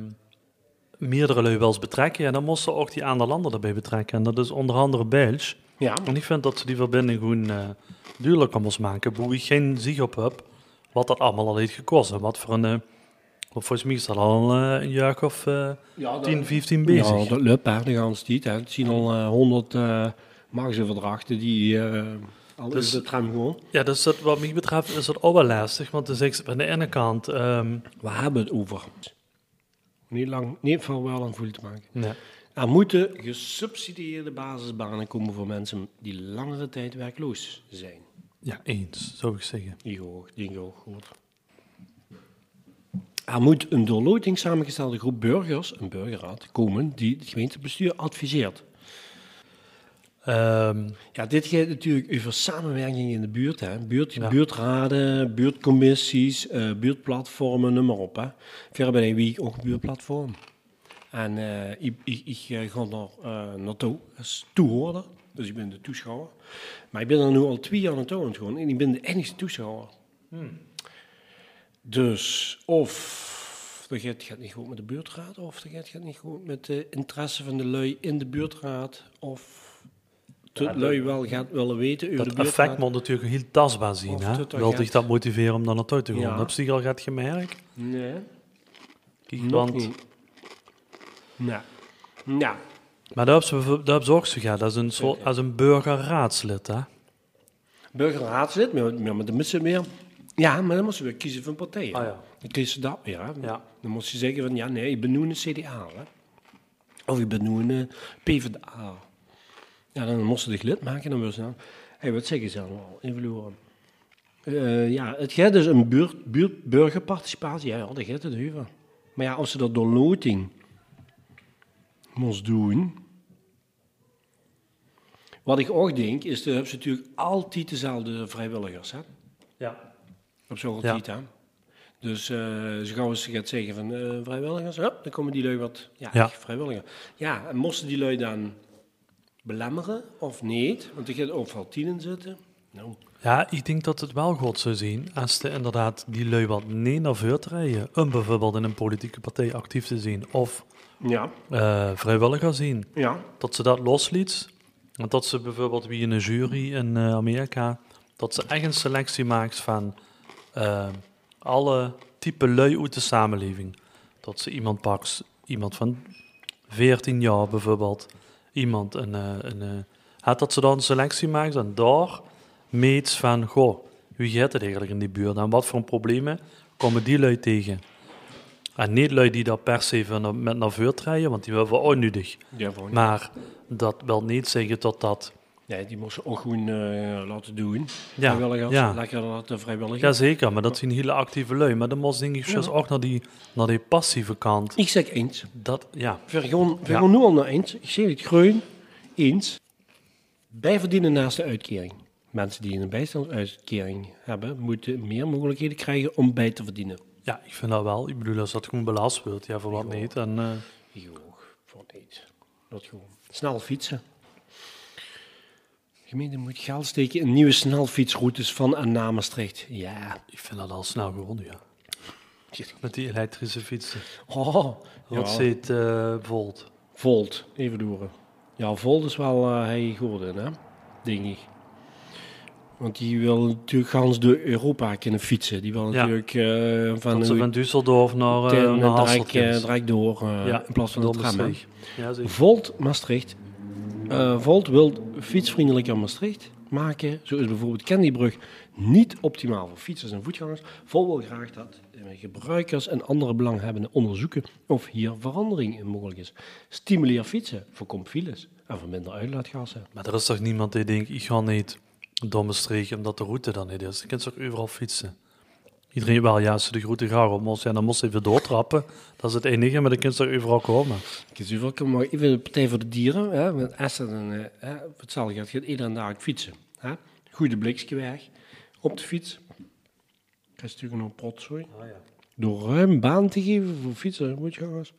Speaker 1: meerdere lui wel eens betrekken, ja, dan moesten ook die ander landen erbij betrekken. En dat is onder andere België.
Speaker 2: Ja.
Speaker 1: En ik vind dat ze die verbinding gewoon eh duidelijk aan ons maken. Hoe ik geen zicht op heb wat dat allemaal al heeft gekost. En wat voor een... eh, want volgens mij is dat al eh, een jaar of eh, 10, 15 bezig.
Speaker 2: Ja, dat lukt hè, de ganse tijd. Hè. Het zien al eh, 100 eh machtsoverdrachten die... eh, al
Speaker 1: Dus-
Speaker 2: is de tram gewoon.
Speaker 1: Ja, dus dat, wat mij betreft is dat ook wel lastig. Want dus ik, aan de ene kant... ehm,
Speaker 2: We hebben het over. Niet lang, niet veel wel aan voel te maken.
Speaker 1: nee.
Speaker 2: Er moeten gesubsidieerde basisbanen komen voor mensen die langere tijd werkloos zijn.
Speaker 1: Ja, eens, zou ik zeggen.
Speaker 2: Die gehoord, die gehoord wordt. Er moet een door loting samengestelde groep burgers, een burgerraad, komen die het gemeentebestuur adviseert.
Speaker 1: Ehm,
Speaker 2: Ja, dit gaat natuurlijk over samenwerking in de buurt. Hè. Buurt
Speaker 1: Ja.
Speaker 2: Buurtraden, buurtcommissies, eh, buurtplatformen, noem maar op. Hè. Verder ben ik wie ook een buurtplatform. En eh, ik, ik, ik eh, ga naar, eh naartoe als toehoorder. Dus ik ben de toeschouwer. Maar ik ben er nu al twee jaar naartoe aan het gaan. En ik ben de enige toeschouwer. Dus of de gaat gaat niet goed met de buurtraad. Of de gaat gaat niet goed met de interesse van de lui in de buurtraad. Of... De lui wel gaat willen weten over de
Speaker 1: dat
Speaker 2: buurtraad.
Speaker 1: effect moet natuurlijk heel tastbaar zien.
Speaker 2: Of
Speaker 1: Hè?
Speaker 2: dat er
Speaker 1: Wil
Speaker 2: gaat-
Speaker 1: zich dat motiveren om daar naartoe te gaan?
Speaker 2: Ja.
Speaker 1: Heb je zich al gaat gemerkt?
Speaker 2: Nee,
Speaker 1: Kijk, mm.
Speaker 2: nog
Speaker 1: want...
Speaker 2: niet. Nou, nou,
Speaker 1: Maar daar hebben ze, daar hebben ze ook zo gehad, als een, soort, als een burgerraadslid. Hè?
Speaker 2: burgerraadslid, maar, maar, maar dan moeten ze weer... Ja, maar dan moeten ze weer kiezen van partijen.
Speaker 1: Ah, ja.
Speaker 2: Dan kiezen ze dat weer. Hè.
Speaker 1: Ja.
Speaker 2: Dan moet je zeggen van, ja, nee, ik ben nu een CDA. Hè. Of ik ben nu een eh, PvdA. Ja, dan moesten ze zich lid maken. Dan willen ze dan... hey, wat zeggen ze allemaal? Invloeren. Eh, ja, het gaat dus een buurt, buurt, burgerparticipatie. Ja, ja, dat gaat het over. Maar ja, als ze dat door loting moest doen... Wat ik ook denk, is dat ze natuurlijk altijd dezelfde vrijwilligers hè?
Speaker 1: Ja.
Speaker 2: Op zo'n
Speaker 1: Ja.
Speaker 2: tijd, hè? Dus eh zo gauw als ze gaat zeggen van eh, vrijwilligers, hup, dan komen die lui wat ja,
Speaker 1: Ja.
Speaker 2: vrijwilligers. Ja, en moesten die lui dan belemmeren of niet? Want er gaat overal tien in zitten. Nou,
Speaker 1: Ja, ik denk dat het wel goed zou zien als de, inderdaad die lui wat niet naar voren rijden. Om bijvoorbeeld in een politieke partij actief te zijn of
Speaker 2: ja,
Speaker 1: eh, vrijwilliger zien.
Speaker 2: ja.
Speaker 1: Dat ze dat losliet. En dat ze bijvoorbeeld wie in een jury in eh, Amerika, dat ze echt een selectie maakt van eh, alle type lui uit de samenleving. Dat ze iemand pakt, iemand van 14 jaar bijvoorbeeld, iemand een, eh, een eh, had dat ze dan een selectie maakt en daar meets van, goh, wie gaat het eigenlijk in die buurt en wat voor problemen komen die lui tegen? En niet lui die daar per se van, eh, met naar voren rijden, want die hebben we onnodig.
Speaker 2: Ja, gewoon.
Speaker 1: Maar dat wil niet zeggen dat dat
Speaker 2: Nee, die moesten ook gewoon eh, laten doen.
Speaker 1: Ja,
Speaker 2: Vrijwilligers,
Speaker 1: ja.
Speaker 2: lekker laten vrijwilligers.
Speaker 1: Jazeker, maar dat zijn hele actieve lui. Maar dan moest denk ik juist ook naar die, naar die passieve kant.
Speaker 2: Ik zeg eens.
Speaker 1: Dat, ja.
Speaker 2: We gaan, we gaan nu al naar eens. Ik zeg het groen. Eens. Wij verdienen naast de uitkering. Mensen die een bijstandsuitkering hebben, moeten meer mogelijkheden krijgen om bij te verdienen.
Speaker 1: ja, ik vind dat wel. Ik bedoel, als dat gewoon belast wordt, ja, voor wat niet. En, eh,
Speaker 2: Joh, voor niet. Dat gewoon. Snel fietsen. De gemeente moet geld steken in nieuwe snelfietsroutes van en naar Maastricht. Ja.
Speaker 1: ik vind dat al snel gewonnen, ja. Met die elektrische fietsen.
Speaker 2: Oh,
Speaker 1: Wat
Speaker 2: ja.
Speaker 1: zit eh Volt?
Speaker 2: Volt, even door. Ja, Volt is wel eh, hij goed in, hè? Denk ik. Want die wil natuurlijk gans door Europa kunnen fietsen. Die wil
Speaker 1: Ja.
Speaker 2: natuurlijk eh, van
Speaker 1: Dat ze van Düsseldorf naar, eh naar Hasselt
Speaker 2: direct,
Speaker 1: is.
Speaker 2: direct door eh, in plaats van de tram. hè.
Speaker 1: Dondersweg. Ja, zeker.
Speaker 2: Volt Maastricht. Eh, Volt wil fietsvriendelijker Maastricht maken. Zo is bijvoorbeeld Candybrug niet optimaal voor fietsers en voetgangers. Volt wil graag dat eh, gebruikers en andere belanghebbenden onderzoeken of hier verandering in mogelijk is. Stimuleer fietsen, voorkom files en verminder uitlaatgassen.
Speaker 1: Maar er is toch niemand die denkt, ik ga niet domme streek omdat de route dan niet is. Je kunt toch overal fietsen? Iedereen wel, ja, als ze de route graag op moest, ja, dan moest ze even doortrappen. Dat is het enige, maar dan kun je toch overal komen.
Speaker 2: Ik is u welkom, maar even de Partij voor de Dieren. Hè, met Essen en eh, hè, voor hetzelfde geld gaat iedereen dadelijk fietsen. Hè? Goede blikske weg op de fiets. Dat is natuurlijk een protzooi.
Speaker 1: Ah,
Speaker 2: Door ruim baan te geven voor fietsen en voetgangers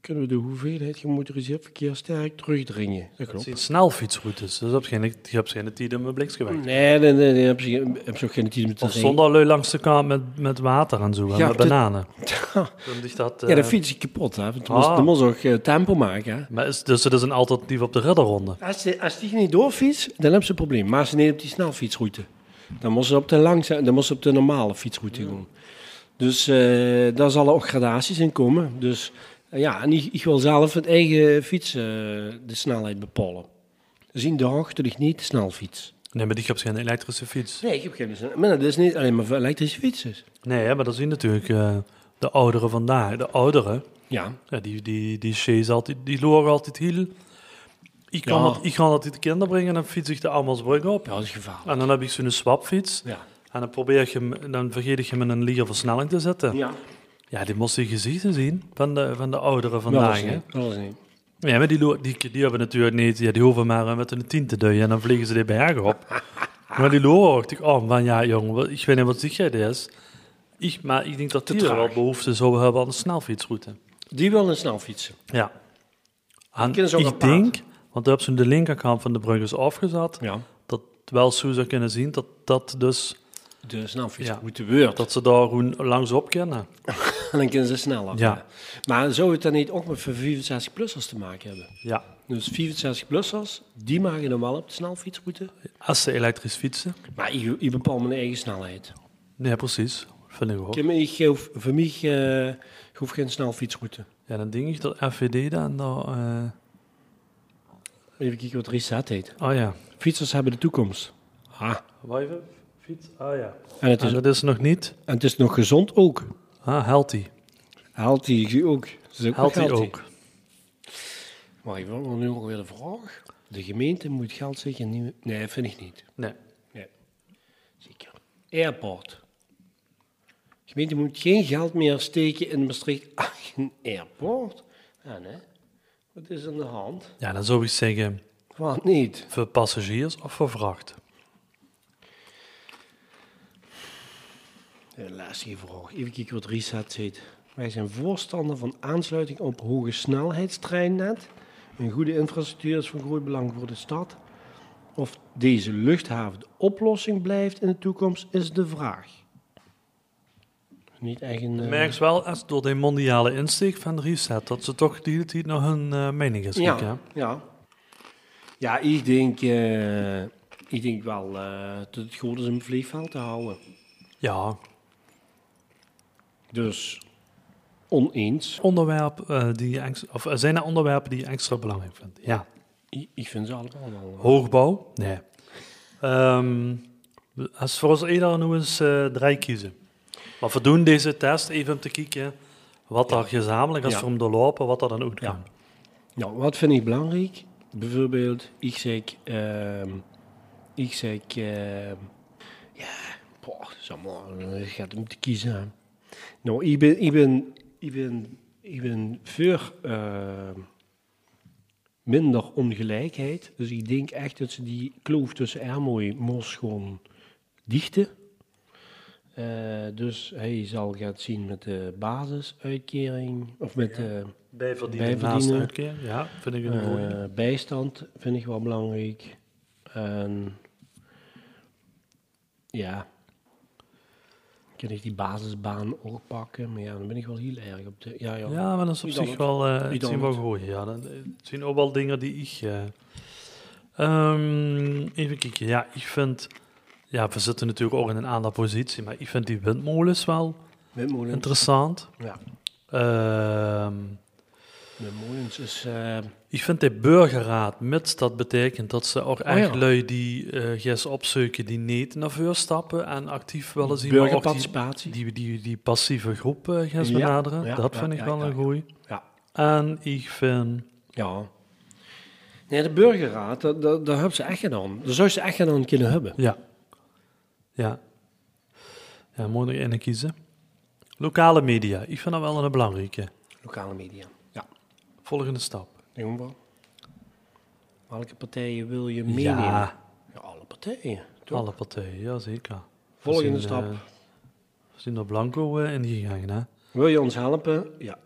Speaker 2: kunnen we de hoeveelheid gemotoriseerd verkeer sterk terugdringen. Dat
Speaker 1: Het
Speaker 2: klopt.
Speaker 1: zijn snelfietsroutes, dus je hebt geen, je hebt geen tijd om een bliksem weg.
Speaker 2: Nee, nee, nee, nee, heb je heb je ook geen tijd met te
Speaker 1: Of
Speaker 2: rijden.
Speaker 1: zonder lui langs de kant met, met water en zo, en
Speaker 2: Ja,
Speaker 1: met
Speaker 2: dat-
Speaker 1: bananen. Dan is dat, eh,
Speaker 2: Ja, de fiets is kapot. Hè? Want dan,
Speaker 1: Ah.
Speaker 2: moest, dan moest ook eh, tempo maken. Hè?
Speaker 1: maar is, dus het is een alternatief op de ridderronde.
Speaker 2: Als, de, als die niet doorfiets, dan hebben ze een probleem. Maar als ze niet op die snelfietsroute. Dan moest ze op de, langza- dan moest ze op de normale fietsroute doen. Dus eh, daar zullen ook gradaties in komen. Dus eh, ja, en ik, ik wil zelf het eigen fiets eh, de snelheid bepalen. Zien de hoogte ligt niet de snelfiets.
Speaker 1: Nee, maar die heb geen elektrische fiets.
Speaker 2: Nee, ik heb geen zin. Maar dat is niet alleen maar voor elektrische fietsers.
Speaker 1: Nee, hè, maar dat zien natuurlijk eh, de ouderen vandaag. De ouderen,
Speaker 2: Ja,
Speaker 1: Ja, die, die, die Sjees altijd, die loren altijd heel. Ik kan,
Speaker 2: Ja.
Speaker 1: dat, ik kan dat in de kinderen brengen en dan fiets ik de Amersbrug op.
Speaker 2: ja dat is gevaarlijk.
Speaker 1: En dan heb ik zo'n swapfiets.
Speaker 2: Ja.
Speaker 1: En dan, probeer ik hem, dan vergeet ik hem in een liege versnelling te zetten. Ja,
Speaker 2: Ja,
Speaker 1: die moest je gezichten zien van de, van de ouderen
Speaker 2: dat
Speaker 1: vandaag.
Speaker 2: is
Speaker 1: hè.
Speaker 2: niet. Dat is niet.
Speaker 1: Ja, maar die, lo- die, die hebben natuurlijk niet... Ja, die hoeven maar eh, met een tien te duwen en dan vliegen ze die bergen op. maar die loren ook. Ik oh, van ja, jongen, wat- ik weet niet wat ziek jij dit is. Ik, maar ik denk dat die er
Speaker 2: traag.
Speaker 1: wel behoefte zouden hebben aan een snelfietsroute.
Speaker 2: Die wil een snelfietsen.
Speaker 1: Ja. En
Speaker 2: kunnen ze ook
Speaker 1: ik
Speaker 2: een paard.
Speaker 1: denk, want daar hebben ze de linkerkant van de brug is afgezet,
Speaker 2: Ja,
Speaker 1: dat wel zo zou kunnen zien dat, dat, dus,
Speaker 2: de snelfietsroute ja.
Speaker 1: dat ze daar gewoon langs op kunnen.
Speaker 2: En dan kunnen ze sneller.
Speaker 1: Ja.
Speaker 2: Maar zou het dan niet ook met 65-plussers te maken hebben?
Speaker 1: Ja,
Speaker 2: Dus 65-plussers, die maken dan wel op de snelfietsroute.
Speaker 1: als ze elektrisch fietsen.
Speaker 2: Maar ik, ik bepaal mijn eigen snelheid.
Speaker 1: Nee, precies. Vind ik ook.
Speaker 2: Ik, ik geef- voor mij eh, ik hoef geen snelfietsroute.
Speaker 1: Ja, dan denk ik dat FVD dan daar... eh,
Speaker 2: Even kijken wat Reset heet.
Speaker 1: Oh ja.
Speaker 2: Fietsers hebben de toekomst. Ah.
Speaker 1: Wijven, fiets, ah ja.
Speaker 2: En, het
Speaker 1: En
Speaker 2: is, en
Speaker 1: dat is nog niet.
Speaker 2: het is nog gezond ook.
Speaker 1: Ah, healthy.
Speaker 2: Healthy ook. Dat is ook
Speaker 1: Healthy,
Speaker 2: nog healthy.
Speaker 1: ook.
Speaker 2: Maar ik wil nog nu nog weer de vraag. De gemeente moet geld zeker niet... Nee, vind ik niet.
Speaker 1: Nee.
Speaker 2: Nee. Zeker. Airport. De gemeente moet geen geld meer steken in Maastricht. Ach, een airport? Ja, nee. Wat is aan de hand?
Speaker 1: Ja, dan zou ik zeggen,
Speaker 2: Wat niet?
Speaker 1: voor passagiers of voor vracht?
Speaker 2: Een lastige vraag. Even kijken wat Reset zegt. Wij zijn voorstander van aansluiting op hoge snelheidstreinnet. Een goede infrastructuur is van groot belang voor de stad. Of deze luchthaven de oplossing blijft in de toekomst, is de vraag. Niet echt een... eh,
Speaker 1: Ik merk ze wel als door de mondiale insteek van de reset dat ze toch die hele tijd naar hun eh, mening is.
Speaker 2: Ja,
Speaker 1: kijken, hè?
Speaker 2: ja. Ja, ik denk, eh, ik denk wel eh, dat het goed is om het vliegveld te houden.
Speaker 1: ja.
Speaker 2: Dus oneens.
Speaker 1: Onderwerp, eh, die je ex- of, eh, zijn er onderwerpen die je extra belangrijk vindt? Ja.
Speaker 2: Ik, ik vind ze allemaal wel.
Speaker 1: Hoogbouw? Nee. Ehm, als voor ons eerder nu eens eh, drie kiezen. Maar we doen deze test even om te kijken wat daar gezamenlijk is
Speaker 2: Ja.
Speaker 1: voor om doorlopen, wat er dan ook kan.
Speaker 2: Nou, wat vind ik belangrijk? Bijvoorbeeld, ik zeg, ehm, ik zeg, ehm, ja, boah, dat is allemaal, eh, je gaat moeten kiezen. hè. Nou, ik ben, ik ben, ik ben, ik ben voor ehm, minder ongelijkheid. Dus ik denk echt dat ze die kloof tussen Ermooi en Mos gewoon dichten. Eh, dus hij zal gaan zien met de basisuitkering, of met de
Speaker 1: Bijverdienen naast
Speaker 2: Bijverdienen.
Speaker 1: uitkeer. Ja, vind ik een mooie.
Speaker 2: eh, bijstand vind ik wel belangrijk. En ja, kan ik die basisbaan ook pakken? Maar ja, dan ben ik wel heel erg op de. Ja, ja.
Speaker 1: Ja, maar dat is op
Speaker 2: Wie
Speaker 1: zich
Speaker 2: dan
Speaker 1: wel, eh,
Speaker 2: Wie
Speaker 1: het
Speaker 2: dan
Speaker 1: zien wel
Speaker 2: het?
Speaker 1: gooien. Ja, dat het zijn ook wel dingen die ik. eh, ehm, even kijken. Ja, ik vind. Ja, we zitten natuurlijk ook in een aantal positie, maar ik vind die windmolens wel
Speaker 2: Met Molens.
Speaker 1: interessant.
Speaker 2: Ja,
Speaker 1: Ehm,
Speaker 2: met Molens is. eh,
Speaker 1: ik vind de burgerraad, mits dat betekent dat ze
Speaker 2: Oh
Speaker 1: ook echt lui die eh ges opzoeken die niet naar voren stappen en actief willen zien, maar ook die,
Speaker 2: burgerparticipatie.
Speaker 1: die, die, die passieve groep eh ges
Speaker 2: Ja,
Speaker 1: benaderen.
Speaker 2: ja,
Speaker 1: dat
Speaker 2: ja,
Speaker 1: vind ik
Speaker 2: ja,
Speaker 1: wel
Speaker 2: ja,
Speaker 1: een
Speaker 2: ja.
Speaker 1: goeie.
Speaker 2: Ja.
Speaker 1: En ik vind.
Speaker 2: ja. Nee, de burgerraad, dat, dat, dat hebben ze echt gedaan. Dat zou ze echt gedaan kunnen hebben.
Speaker 1: Ja. Ja. Ja, moet er ene kiezen. Lokale media. Ik vind dat wel een belangrijke.
Speaker 2: Lokale media. Ja,
Speaker 1: Volgende stap.
Speaker 2: denk wel. Welke partijen wil je meenemen?
Speaker 1: Ja,
Speaker 2: Ja, alle partijen. Toch?
Speaker 1: alle partijen. Ja, zeker.
Speaker 2: Volgende
Speaker 1: We
Speaker 2: stap.
Speaker 1: eh, we zijn door Blanco eh, ingegaan, hè.
Speaker 2: Wil je ons helpen? Ja.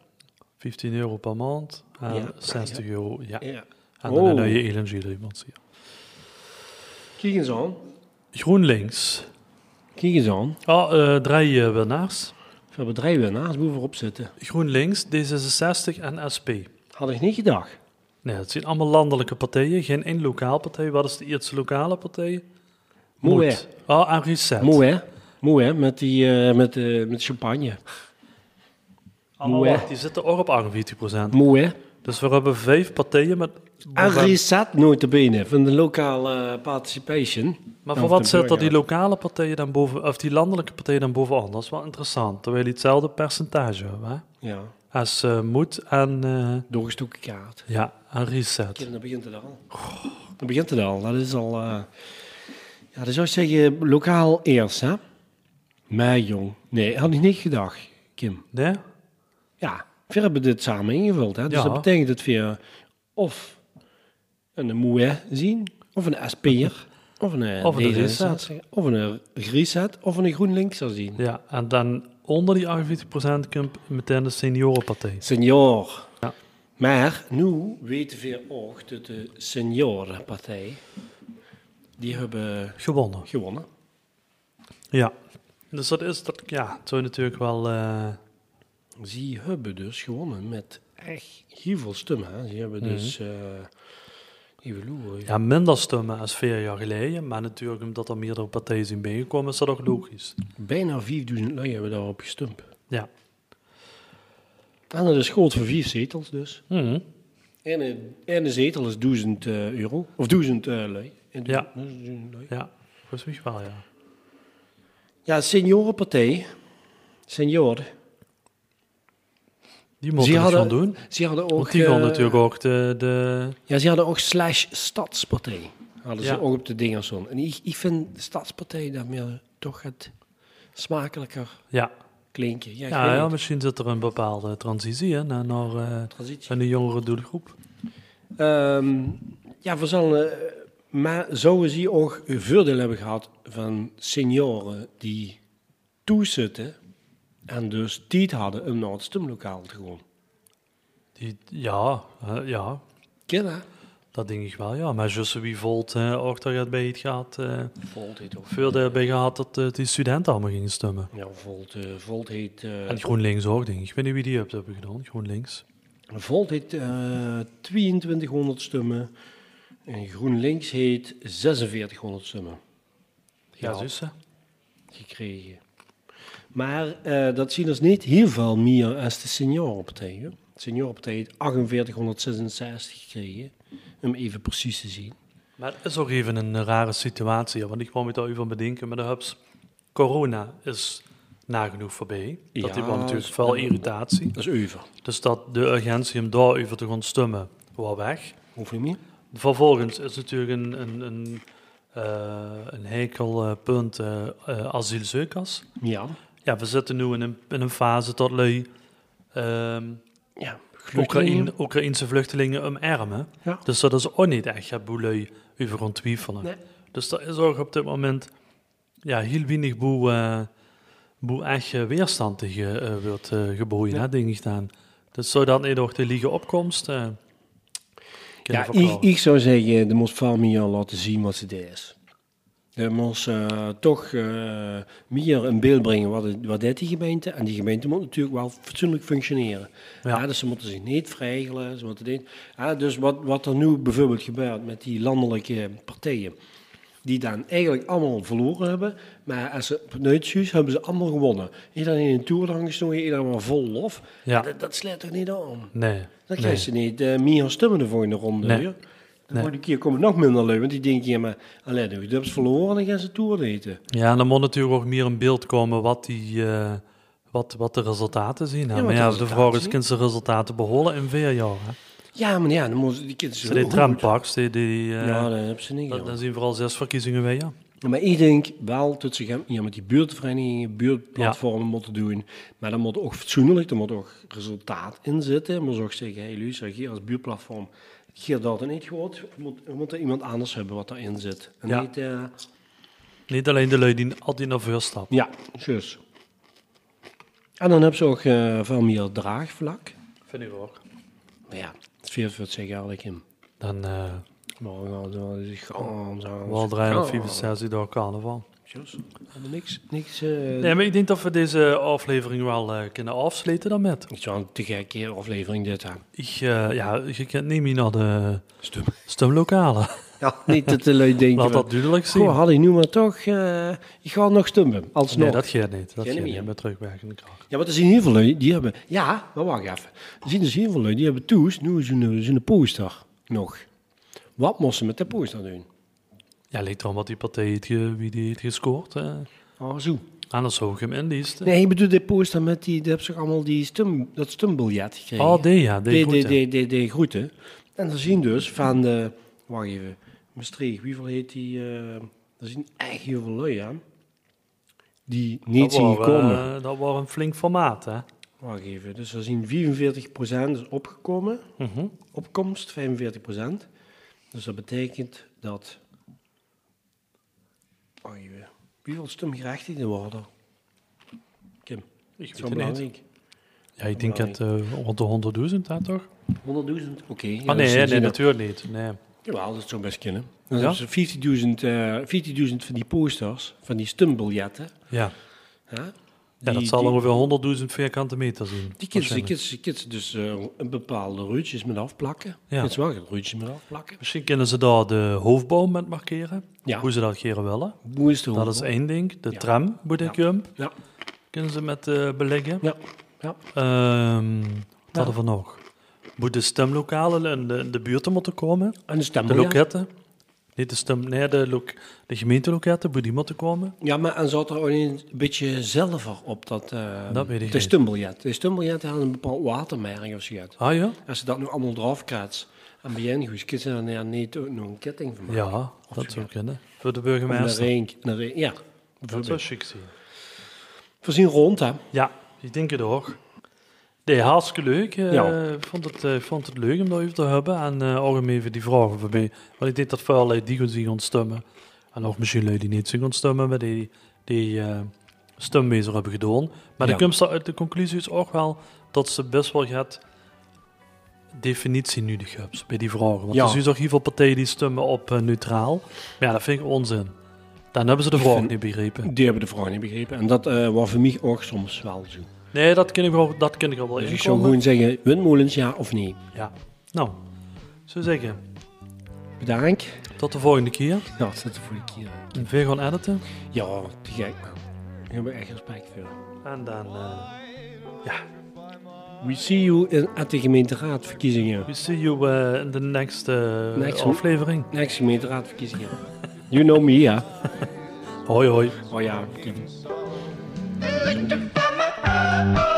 Speaker 1: 15 euro per maand en
Speaker 2: Ja.
Speaker 1: 60 euro. Ja.
Speaker 2: ja.
Speaker 1: En dan
Speaker 2: Oh.
Speaker 1: heb je LNG-leverantie.
Speaker 2: Kijk eens aan.
Speaker 1: GroenLinks.
Speaker 2: Kijk eens aan.
Speaker 1: Ah, eh, drie eh, winnaars.
Speaker 2: Veel bedrijven naast boven op zitten.
Speaker 1: GroenLinks, D66 en SP.
Speaker 2: Had ik niet gedacht.
Speaker 1: Nee, het zijn allemaal landelijke partijen. Geen één lokaal partij. Wat is de eerste lokale partij?
Speaker 2: Moe,
Speaker 1: Moet. Oh, en Reset.
Speaker 2: Moe hè? Moe hè? Met, die, eh, met, eh, met champagne.
Speaker 1: Allemaal
Speaker 2: Moe, hè?
Speaker 1: wat, die zitten ook op 48
Speaker 2: Moe hè?
Speaker 1: Dus we hebben vijf partijen met...
Speaker 2: En Reset nooit te benen van de lokaal eh, participation. Ja,
Speaker 1: Maar voor
Speaker 2: of
Speaker 1: wat
Speaker 2: de
Speaker 1: zitten die
Speaker 2: burger.
Speaker 1: lokale partijen dan boven... Of die landelijke partijen dan bovenaan? Dat is wel interessant. Terwijl die hetzelfde percentage hebben, hè?
Speaker 2: Ja,
Speaker 1: Als eh Moed en... eh,
Speaker 2: doorgestoken kaart.
Speaker 1: ja, en Reset.
Speaker 2: Kijk, dan begint het al. Dan begint het al. Dat is al... eh, ja, dan zou ik zeggen lokaal eerst hè? Mij jong. Nee, had ik niet gedacht, Kim.
Speaker 1: Nee?
Speaker 2: Ja, we hebben dit samen ingevuld. Hè? Dus
Speaker 1: Ja.
Speaker 2: dat betekent dat we of een moe zien, of een SP'er, of een, eh,
Speaker 1: Of een
Speaker 2: D66, of een Griset, of een GroenLinkser zien.
Speaker 1: Ja, en dan onder die 48 komt meteen de seniorenpartij.
Speaker 2: Senior.
Speaker 1: Ja.
Speaker 2: Maar nu weten we ook dat de seniorenpartij, die hebben
Speaker 1: Gewonnen.
Speaker 2: gewonnen.
Speaker 1: Ja. Dus dat is... Dat, ja, het zou natuurlijk wel... eh,
Speaker 2: Ze hebben dus gewonnen met echt heel veel stemmen. Hè? Ze hebben dus... eh even loeren.
Speaker 1: Mhm. Ja, minder stemmen als vier jaar geleden, maar natuurlijk omdat er meerdere partijen zijn bijgekomen, is dat ook logisch.
Speaker 2: Bijna 4000 lui hebben daarop gestemd.
Speaker 1: Ja.
Speaker 2: En dat is groot voor vier zetels dus. En een, en een zetel is 1000 eh, euro. Of 1000 eh, lui. En du-
Speaker 1: Ja.
Speaker 2: dus 1000 lui.
Speaker 1: Ja, volgens mij wel, ja.
Speaker 2: Ja, seniorenpartij. Senioren.
Speaker 1: Die moeten het
Speaker 2: hadden-
Speaker 1: van doen.
Speaker 2: Ze hadden ook...
Speaker 1: Want die gaan
Speaker 2: eh,
Speaker 1: natuurlijk ook de... de
Speaker 2: Ja, ze hadden ook slash stadspartij. Hadden
Speaker 1: Ja.
Speaker 2: ze ook op de dingen zo. En ik, ik vind de stadspartij daar meer toch het smakelijker
Speaker 1: ja.
Speaker 2: klinken. Ja, ik
Speaker 1: Ja,
Speaker 2: weet
Speaker 1: ja,
Speaker 2: niet.
Speaker 1: misschien zit er een bepaalde transitie in naar, naar, eh,
Speaker 2: Transitie.
Speaker 1: naar de jongere doelgroep.
Speaker 2: Ehm, ja, we zullen... eh, Maar zouden ze ook een voordeel hebben gehad van senioren die toezitten en dus tijd hadden om naar het stemlokaal te gaan?
Speaker 1: Die, ja, eh, ja,
Speaker 2: Ken hè?
Speaker 1: dat denk ik wel, ja. Maar juist wie volt eh, ook daar bij het gaat, eh
Speaker 2: Volt heet ook.
Speaker 1: veel daarbij gehad dat eh, die studenten allemaal gingen stemmen.
Speaker 2: Ja, Volt, eh, Volt heet... eh,
Speaker 1: En GroenLinks ook, denk ik. Ik weet niet wie die hebt hebben gedaan, GroenLinks.
Speaker 2: Volt heet eh, 2200 stemmen en GroenLinks heet 4600 stemmen. Ja.
Speaker 1: Ja,
Speaker 2: dus,
Speaker 1: zus, hè?
Speaker 2: gekregen. Maar eh, dat zien dus niet heel veel meer als de seniorenpartij. hè. De seniorenpartij heeft 4866 gekregen, om even precies te zien.
Speaker 1: Maar het is ook even een eh, rare situatie, want ik kwam het al even bedenken, maar de hubs, corona is nagenoeg voorbij.
Speaker 2: Ja,
Speaker 1: dat die wel
Speaker 2: dat
Speaker 1: natuurlijk
Speaker 2: is-
Speaker 1: veel irritatie.
Speaker 2: Dat is over.
Speaker 1: Dus dat de urgentie om daarover te gaan stemmen, was weg.
Speaker 2: Hoeft niet meer.
Speaker 1: Vervolgens is natuurlijk een, een, een, eh, een heikel eh, punt eh, eh, asielzoekers.
Speaker 2: Ja.
Speaker 1: Ja, we zitten nu in een, in een fase dat lui ehm,
Speaker 2: ja.
Speaker 1: Oekraïne, Oekraïnse vluchtelingen omarmen.
Speaker 2: Ja.
Speaker 1: Dus dat is ook niet echt het boel lui over ontwikkelen.
Speaker 2: Nee.
Speaker 1: Dus dat is ook op dit moment ja, heel weinig boe, eh boe echt eh, weerstand tegen eh, wordt eh, geboeien, hè, denk ik dan. Dus zodat niet ook de liege opkomst eh kunnen
Speaker 2: Ja, ik,
Speaker 1: verklaren.
Speaker 2: ik zou zeggen, de moest vooral meer laten zien wat het is. De moest eh, toch eh, meer in beeld brengen wat, het, wat dit die gemeente. En die gemeente moet natuurlijk wel fatsoenlijk functioneren.
Speaker 1: Ja.
Speaker 2: Ja. dus ze moeten zich niet vrijgelen. Ze moeten niet, ja, dus wat, wat er nu bijvoorbeeld gebeurt met die landelijke partijen. Die dan eigenlijk allemaal verloren hebben. Maar als ze neutjes hebben ze allemaal gewonnen. Iedereen in een toerang gestoken, iedereen maar vol lof.
Speaker 1: Ja.
Speaker 2: Dat, dat slaat toch niet aan?
Speaker 1: Nee.
Speaker 2: Dan
Speaker 1: nee.
Speaker 2: krijg je niet eh, meer stemmen de volgende ronde.
Speaker 1: Nee.
Speaker 2: hoor. De
Speaker 1: Nee.
Speaker 2: volgende keer komt het nog minder leuk, want die denken, ja, maar alleen de dubs verloren, dan gaan ze toer eten.
Speaker 1: Ja, en dan moet natuurlijk ook meer in beeld komen wat, die, eh, wat, wat de resultaten zien.
Speaker 2: Ja,
Speaker 1: hè.
Speaker 2: wat
Speaker 1: maar
Speaker 2: de
Speaker 1: ja, de
Speaker 2: resultaten
Speaker 1: vraag is,
Speaker 2: zien.
Speaker 1: kunnen ze resultaten beholen in vier jaar? Hè?
Speaker 2: Ja, maar ja, dan moeten die kinderen
Speaker 1: Ze die trampaks, die... die eh,
Speaker 2: Ja, dat hebben ze niet.
Speaker 1: Dan,
Speaker 2: joh.
Speaker 1: dan zien vooral zes verkiezingen weer, ja.
Speaker 2: Maar ik denk wel dat ze gaan, ja, met die buurtverenigingen, buurtplatformen moeten doen. Maar dan moet ook fatsoenlijk, er moet ook resultaat in zitten. Je moet ook zeggen, hé hey, luister, hier als buurtplatform, hier dat en niet goed. We moeten- we moeten iemand anders hebben wat daarin zit. En
Speaker 1: Ja.
Speaker 2: niet, eh,
Speaker 1: Niet alleen de lui die altijd naar voren stappen.
Speaker 2: Ja, zus. En dan heb ze ook eh, veel meer draagvlak.
Speaker 1: Vind ik ook.
Speaker 2: Maar ja, het is veel voor het zeggen eigenlijk in.
Speaker 1: Dan eh
Speaker 2: Maar we gaan zo, dus gaan zo.
Speaker 1: wel draaien
Speaker 2: gaan.
Speaker 1: of 65 door carnaval.
Speaker 2: Zus, helemaal niks, niks. eh,
Speaker 1: Nee, maar ik denk dat we deze aflevering wel eh, kunnen afsluiten dan met.
Speaker 2: Ik zou een te gekke aflevering dit aan.
Speaker 1: Ik, eh, ja, je kent niet meer naar de
Speaker 2: Stum.
Speaker 1: stemlokalen.
Speaker 2: Ja, niet dat de lui denken.
Speaker 1: Laat
Speaker 2: van,
Speaker 1: dat duidelijk zien.
Speaker 2: Goh, had ik nu maar toch, eh ik ga nog stummen, alsnog.
Speaker 1: nee, dat gaat niet. Dat
Speaker 2: Geen
Speaker 1: gaat niet.
Speaker 2: meer.
Speaker 1: Met terugwerkende kracht.
Speaker 2: Ja, want er zijn heel veel lui, die hebben, ja, maar wacht even. Er zijn dus heel veel lui, die hebben toes, nu zo'n zo'n poster nog. Wat moesten ze met de poster doen?
Speaker 1: Ja, ligt erom wat die partij heeft, ge- wie die heeft gescoord. eh.
Speaker 2: Oh, zo.
Speaker 1: Anders zou ik hem inliesten.
Speaker 2: Nee, ik bedoel de poster met die, die hebben ze allemaal die stum, dat stumbiljet gekregen.
Speaker 1: Oh, die ja, die
Speaker 2: de, de,
Speaker 1: groeten.
Speaker 2: de, de, de groeten. En dan zien dus van de, wacht even, Maastricht, wie veel heet die, eh er zien echt heel veel lui aan. Die niet
Speaker 1: Dat
Speaker 2: zien
Speaker 1: waren,
Speaker 2: gekomen.
Speaker 1: eh, dat was een flink formaat, hè.
Speaker 2: Wacht even, dus er zien 44% is opgekomen,
Speaker 1: Mhm.
Speaker 2: opkomst 45%. Dus dat betekent dat, wacht even, wie veel stemgerechtigden worden? Kim,
Speaker 1: Ik
Speaker 2: zo
Speaker 1: weet het niet.
Speaker 2: belangrijk.
Speaker 1: Ja, ik denk dat eh rond de 100.000, hè, toch?
Speaker 2: 100.000? Oké.
Speaker 1: Ah, nee, nee,
Speaker 2: natuurlijk.
Speaker 1: natuurlijk niet. Nee.
Speaker 2: Jawel, dat zou best kunnen.
Speaker 1: Ja?
Speaker 2: Dan hebben ze 50.000 eh, 50.000 van die posters, van die stumbiljetten.
Speaker 1: Ja.
Speaker 2: Hè? Die,
Speaker 1: ja, dat zal
Speaker 2: die,
Speaker 1: ongeveer 100.000 vierkante meter zien.
Speaker 2: die kids, die
Speaker 1: waarschijnlijk.
Speaker 2: kids, die kids dus eh, een bepaalde ruitjes met afplakken.
Speaker 1: Ja.
Speaker 2: Ja. Kids wel ruitjes met afplakken.
Speaker 1: Misschien kunnen ze daar de hoofdboom met markeren.
Speaker 2: Ja.
Speaker 1: Hoe ze dat geren willen.
Speaker 2: Hoe is het
Speaker 1: Dat is één ding. De
Speaker 2: Ja.
Speaker 1: tram, moet ik hem,
Speaker 2: Ja,
Speaker 1: kunnen ze met eh, beleggen.
Speaker 2: ja, ja.
Speaker 1: Ehm, wat hadden we nog? Moet de stemlokalen in de, in de buurten moeten komen.
Speaker 2: En de
Speaker 1: De
Speaker 2: stembiljet.
Speaker 1: loketten. Niet de stem, nee, de, lok, de gemeenteloketten, moet die moeten komen.
Speaker 2: Ja, maar en zat er ook een beetje zilver op dat... eh
Speaker 1: Dat weet ik
Speaker 2: De
Speaker 1: niet.
Speaker 2: stumbiljet. De stumbiljet had een bepaald watermerk of zoiets.
Speaker 1: Ah ja?
Speaker 2: Als ze dat nu allemaal eraf kratst en bij goed, kids er dan niet ook nog een ketting van maken.
Speaker 1: Ja, dat zou
Speaker 2: zoiets.
Speaker 1: kunnen. Voor de
Speaker 2: Om Een
Speaker 1: burgemeester.
Speaker 2: ring, een ring, ja.
Speaker 1: Dat zou chic zijn.
Speaker 2: Voorzien rond, hè?
Speaker 1: Ja, ik denk het ook. Nee, hartstikke leuk. Eh,
Speaker 2: Ja.
Speaker 1: Ik vond het, eh, ik vond het leuk om dat even te hebben. En eh ook om even die vragen voor mij. Want ik denk dat veel lui die gaan zien gaan stemmen. En ook misschien lui die niet zien gaan stemmen, maar die, die eh stemwezer hebben gedaan. Maar
Speaker 2: Ja.
Speaker 1: de komst uit de conclusie is ook wel dat ze best wel gaat definitie nu de bij die vragen. Want
Speaker 2: Ja.
Speaker 1: er zijn toch heel veel partijen die stemmen op eh, neutraal. Maar ja, dat vind ik onzin. Dan hebben ze de vraag
Speaker 2: vind-
Speaker 1: niet begrepen.
Speaker 2: Die hebben de vraag niet begrepen. En dat eh was voor mij ook soms wel zo.
Speaker 1: Nee, dat kan ik wel, dat kan ik wel
Speaker 2: Dus ik
Speaker 1: inkomen.
Speaker 2: zou gewoon zeggen, windmolens ja of nee.
Speaker 1: Ja. Nou, zo zeggen.
Speaker 2: Bedankt.
Speaker 1: Tot de volgende keer.
Speaker 2: Ja, dat is het voor de keer.
Speaker 1: En Weer gaan editen.
Speaker 2: Ja, te gek man. Daar heb ik echt respect voor.
Speaker 1: En dan. eh,
Speaker 2: We see you in, at de gemeenteraadverkiezingen.
Speaker 1: we see you eh, in the next, eh,
Speaker 2: Next one.
Speaker 1: aflevering.
Speaker 2: Next gemeenteraadverkiezingen. You know me, ja.
Speaker 1: Hoi, hoi.
Speaker 2: Oh ja.
Speaker 5: Electric Mama.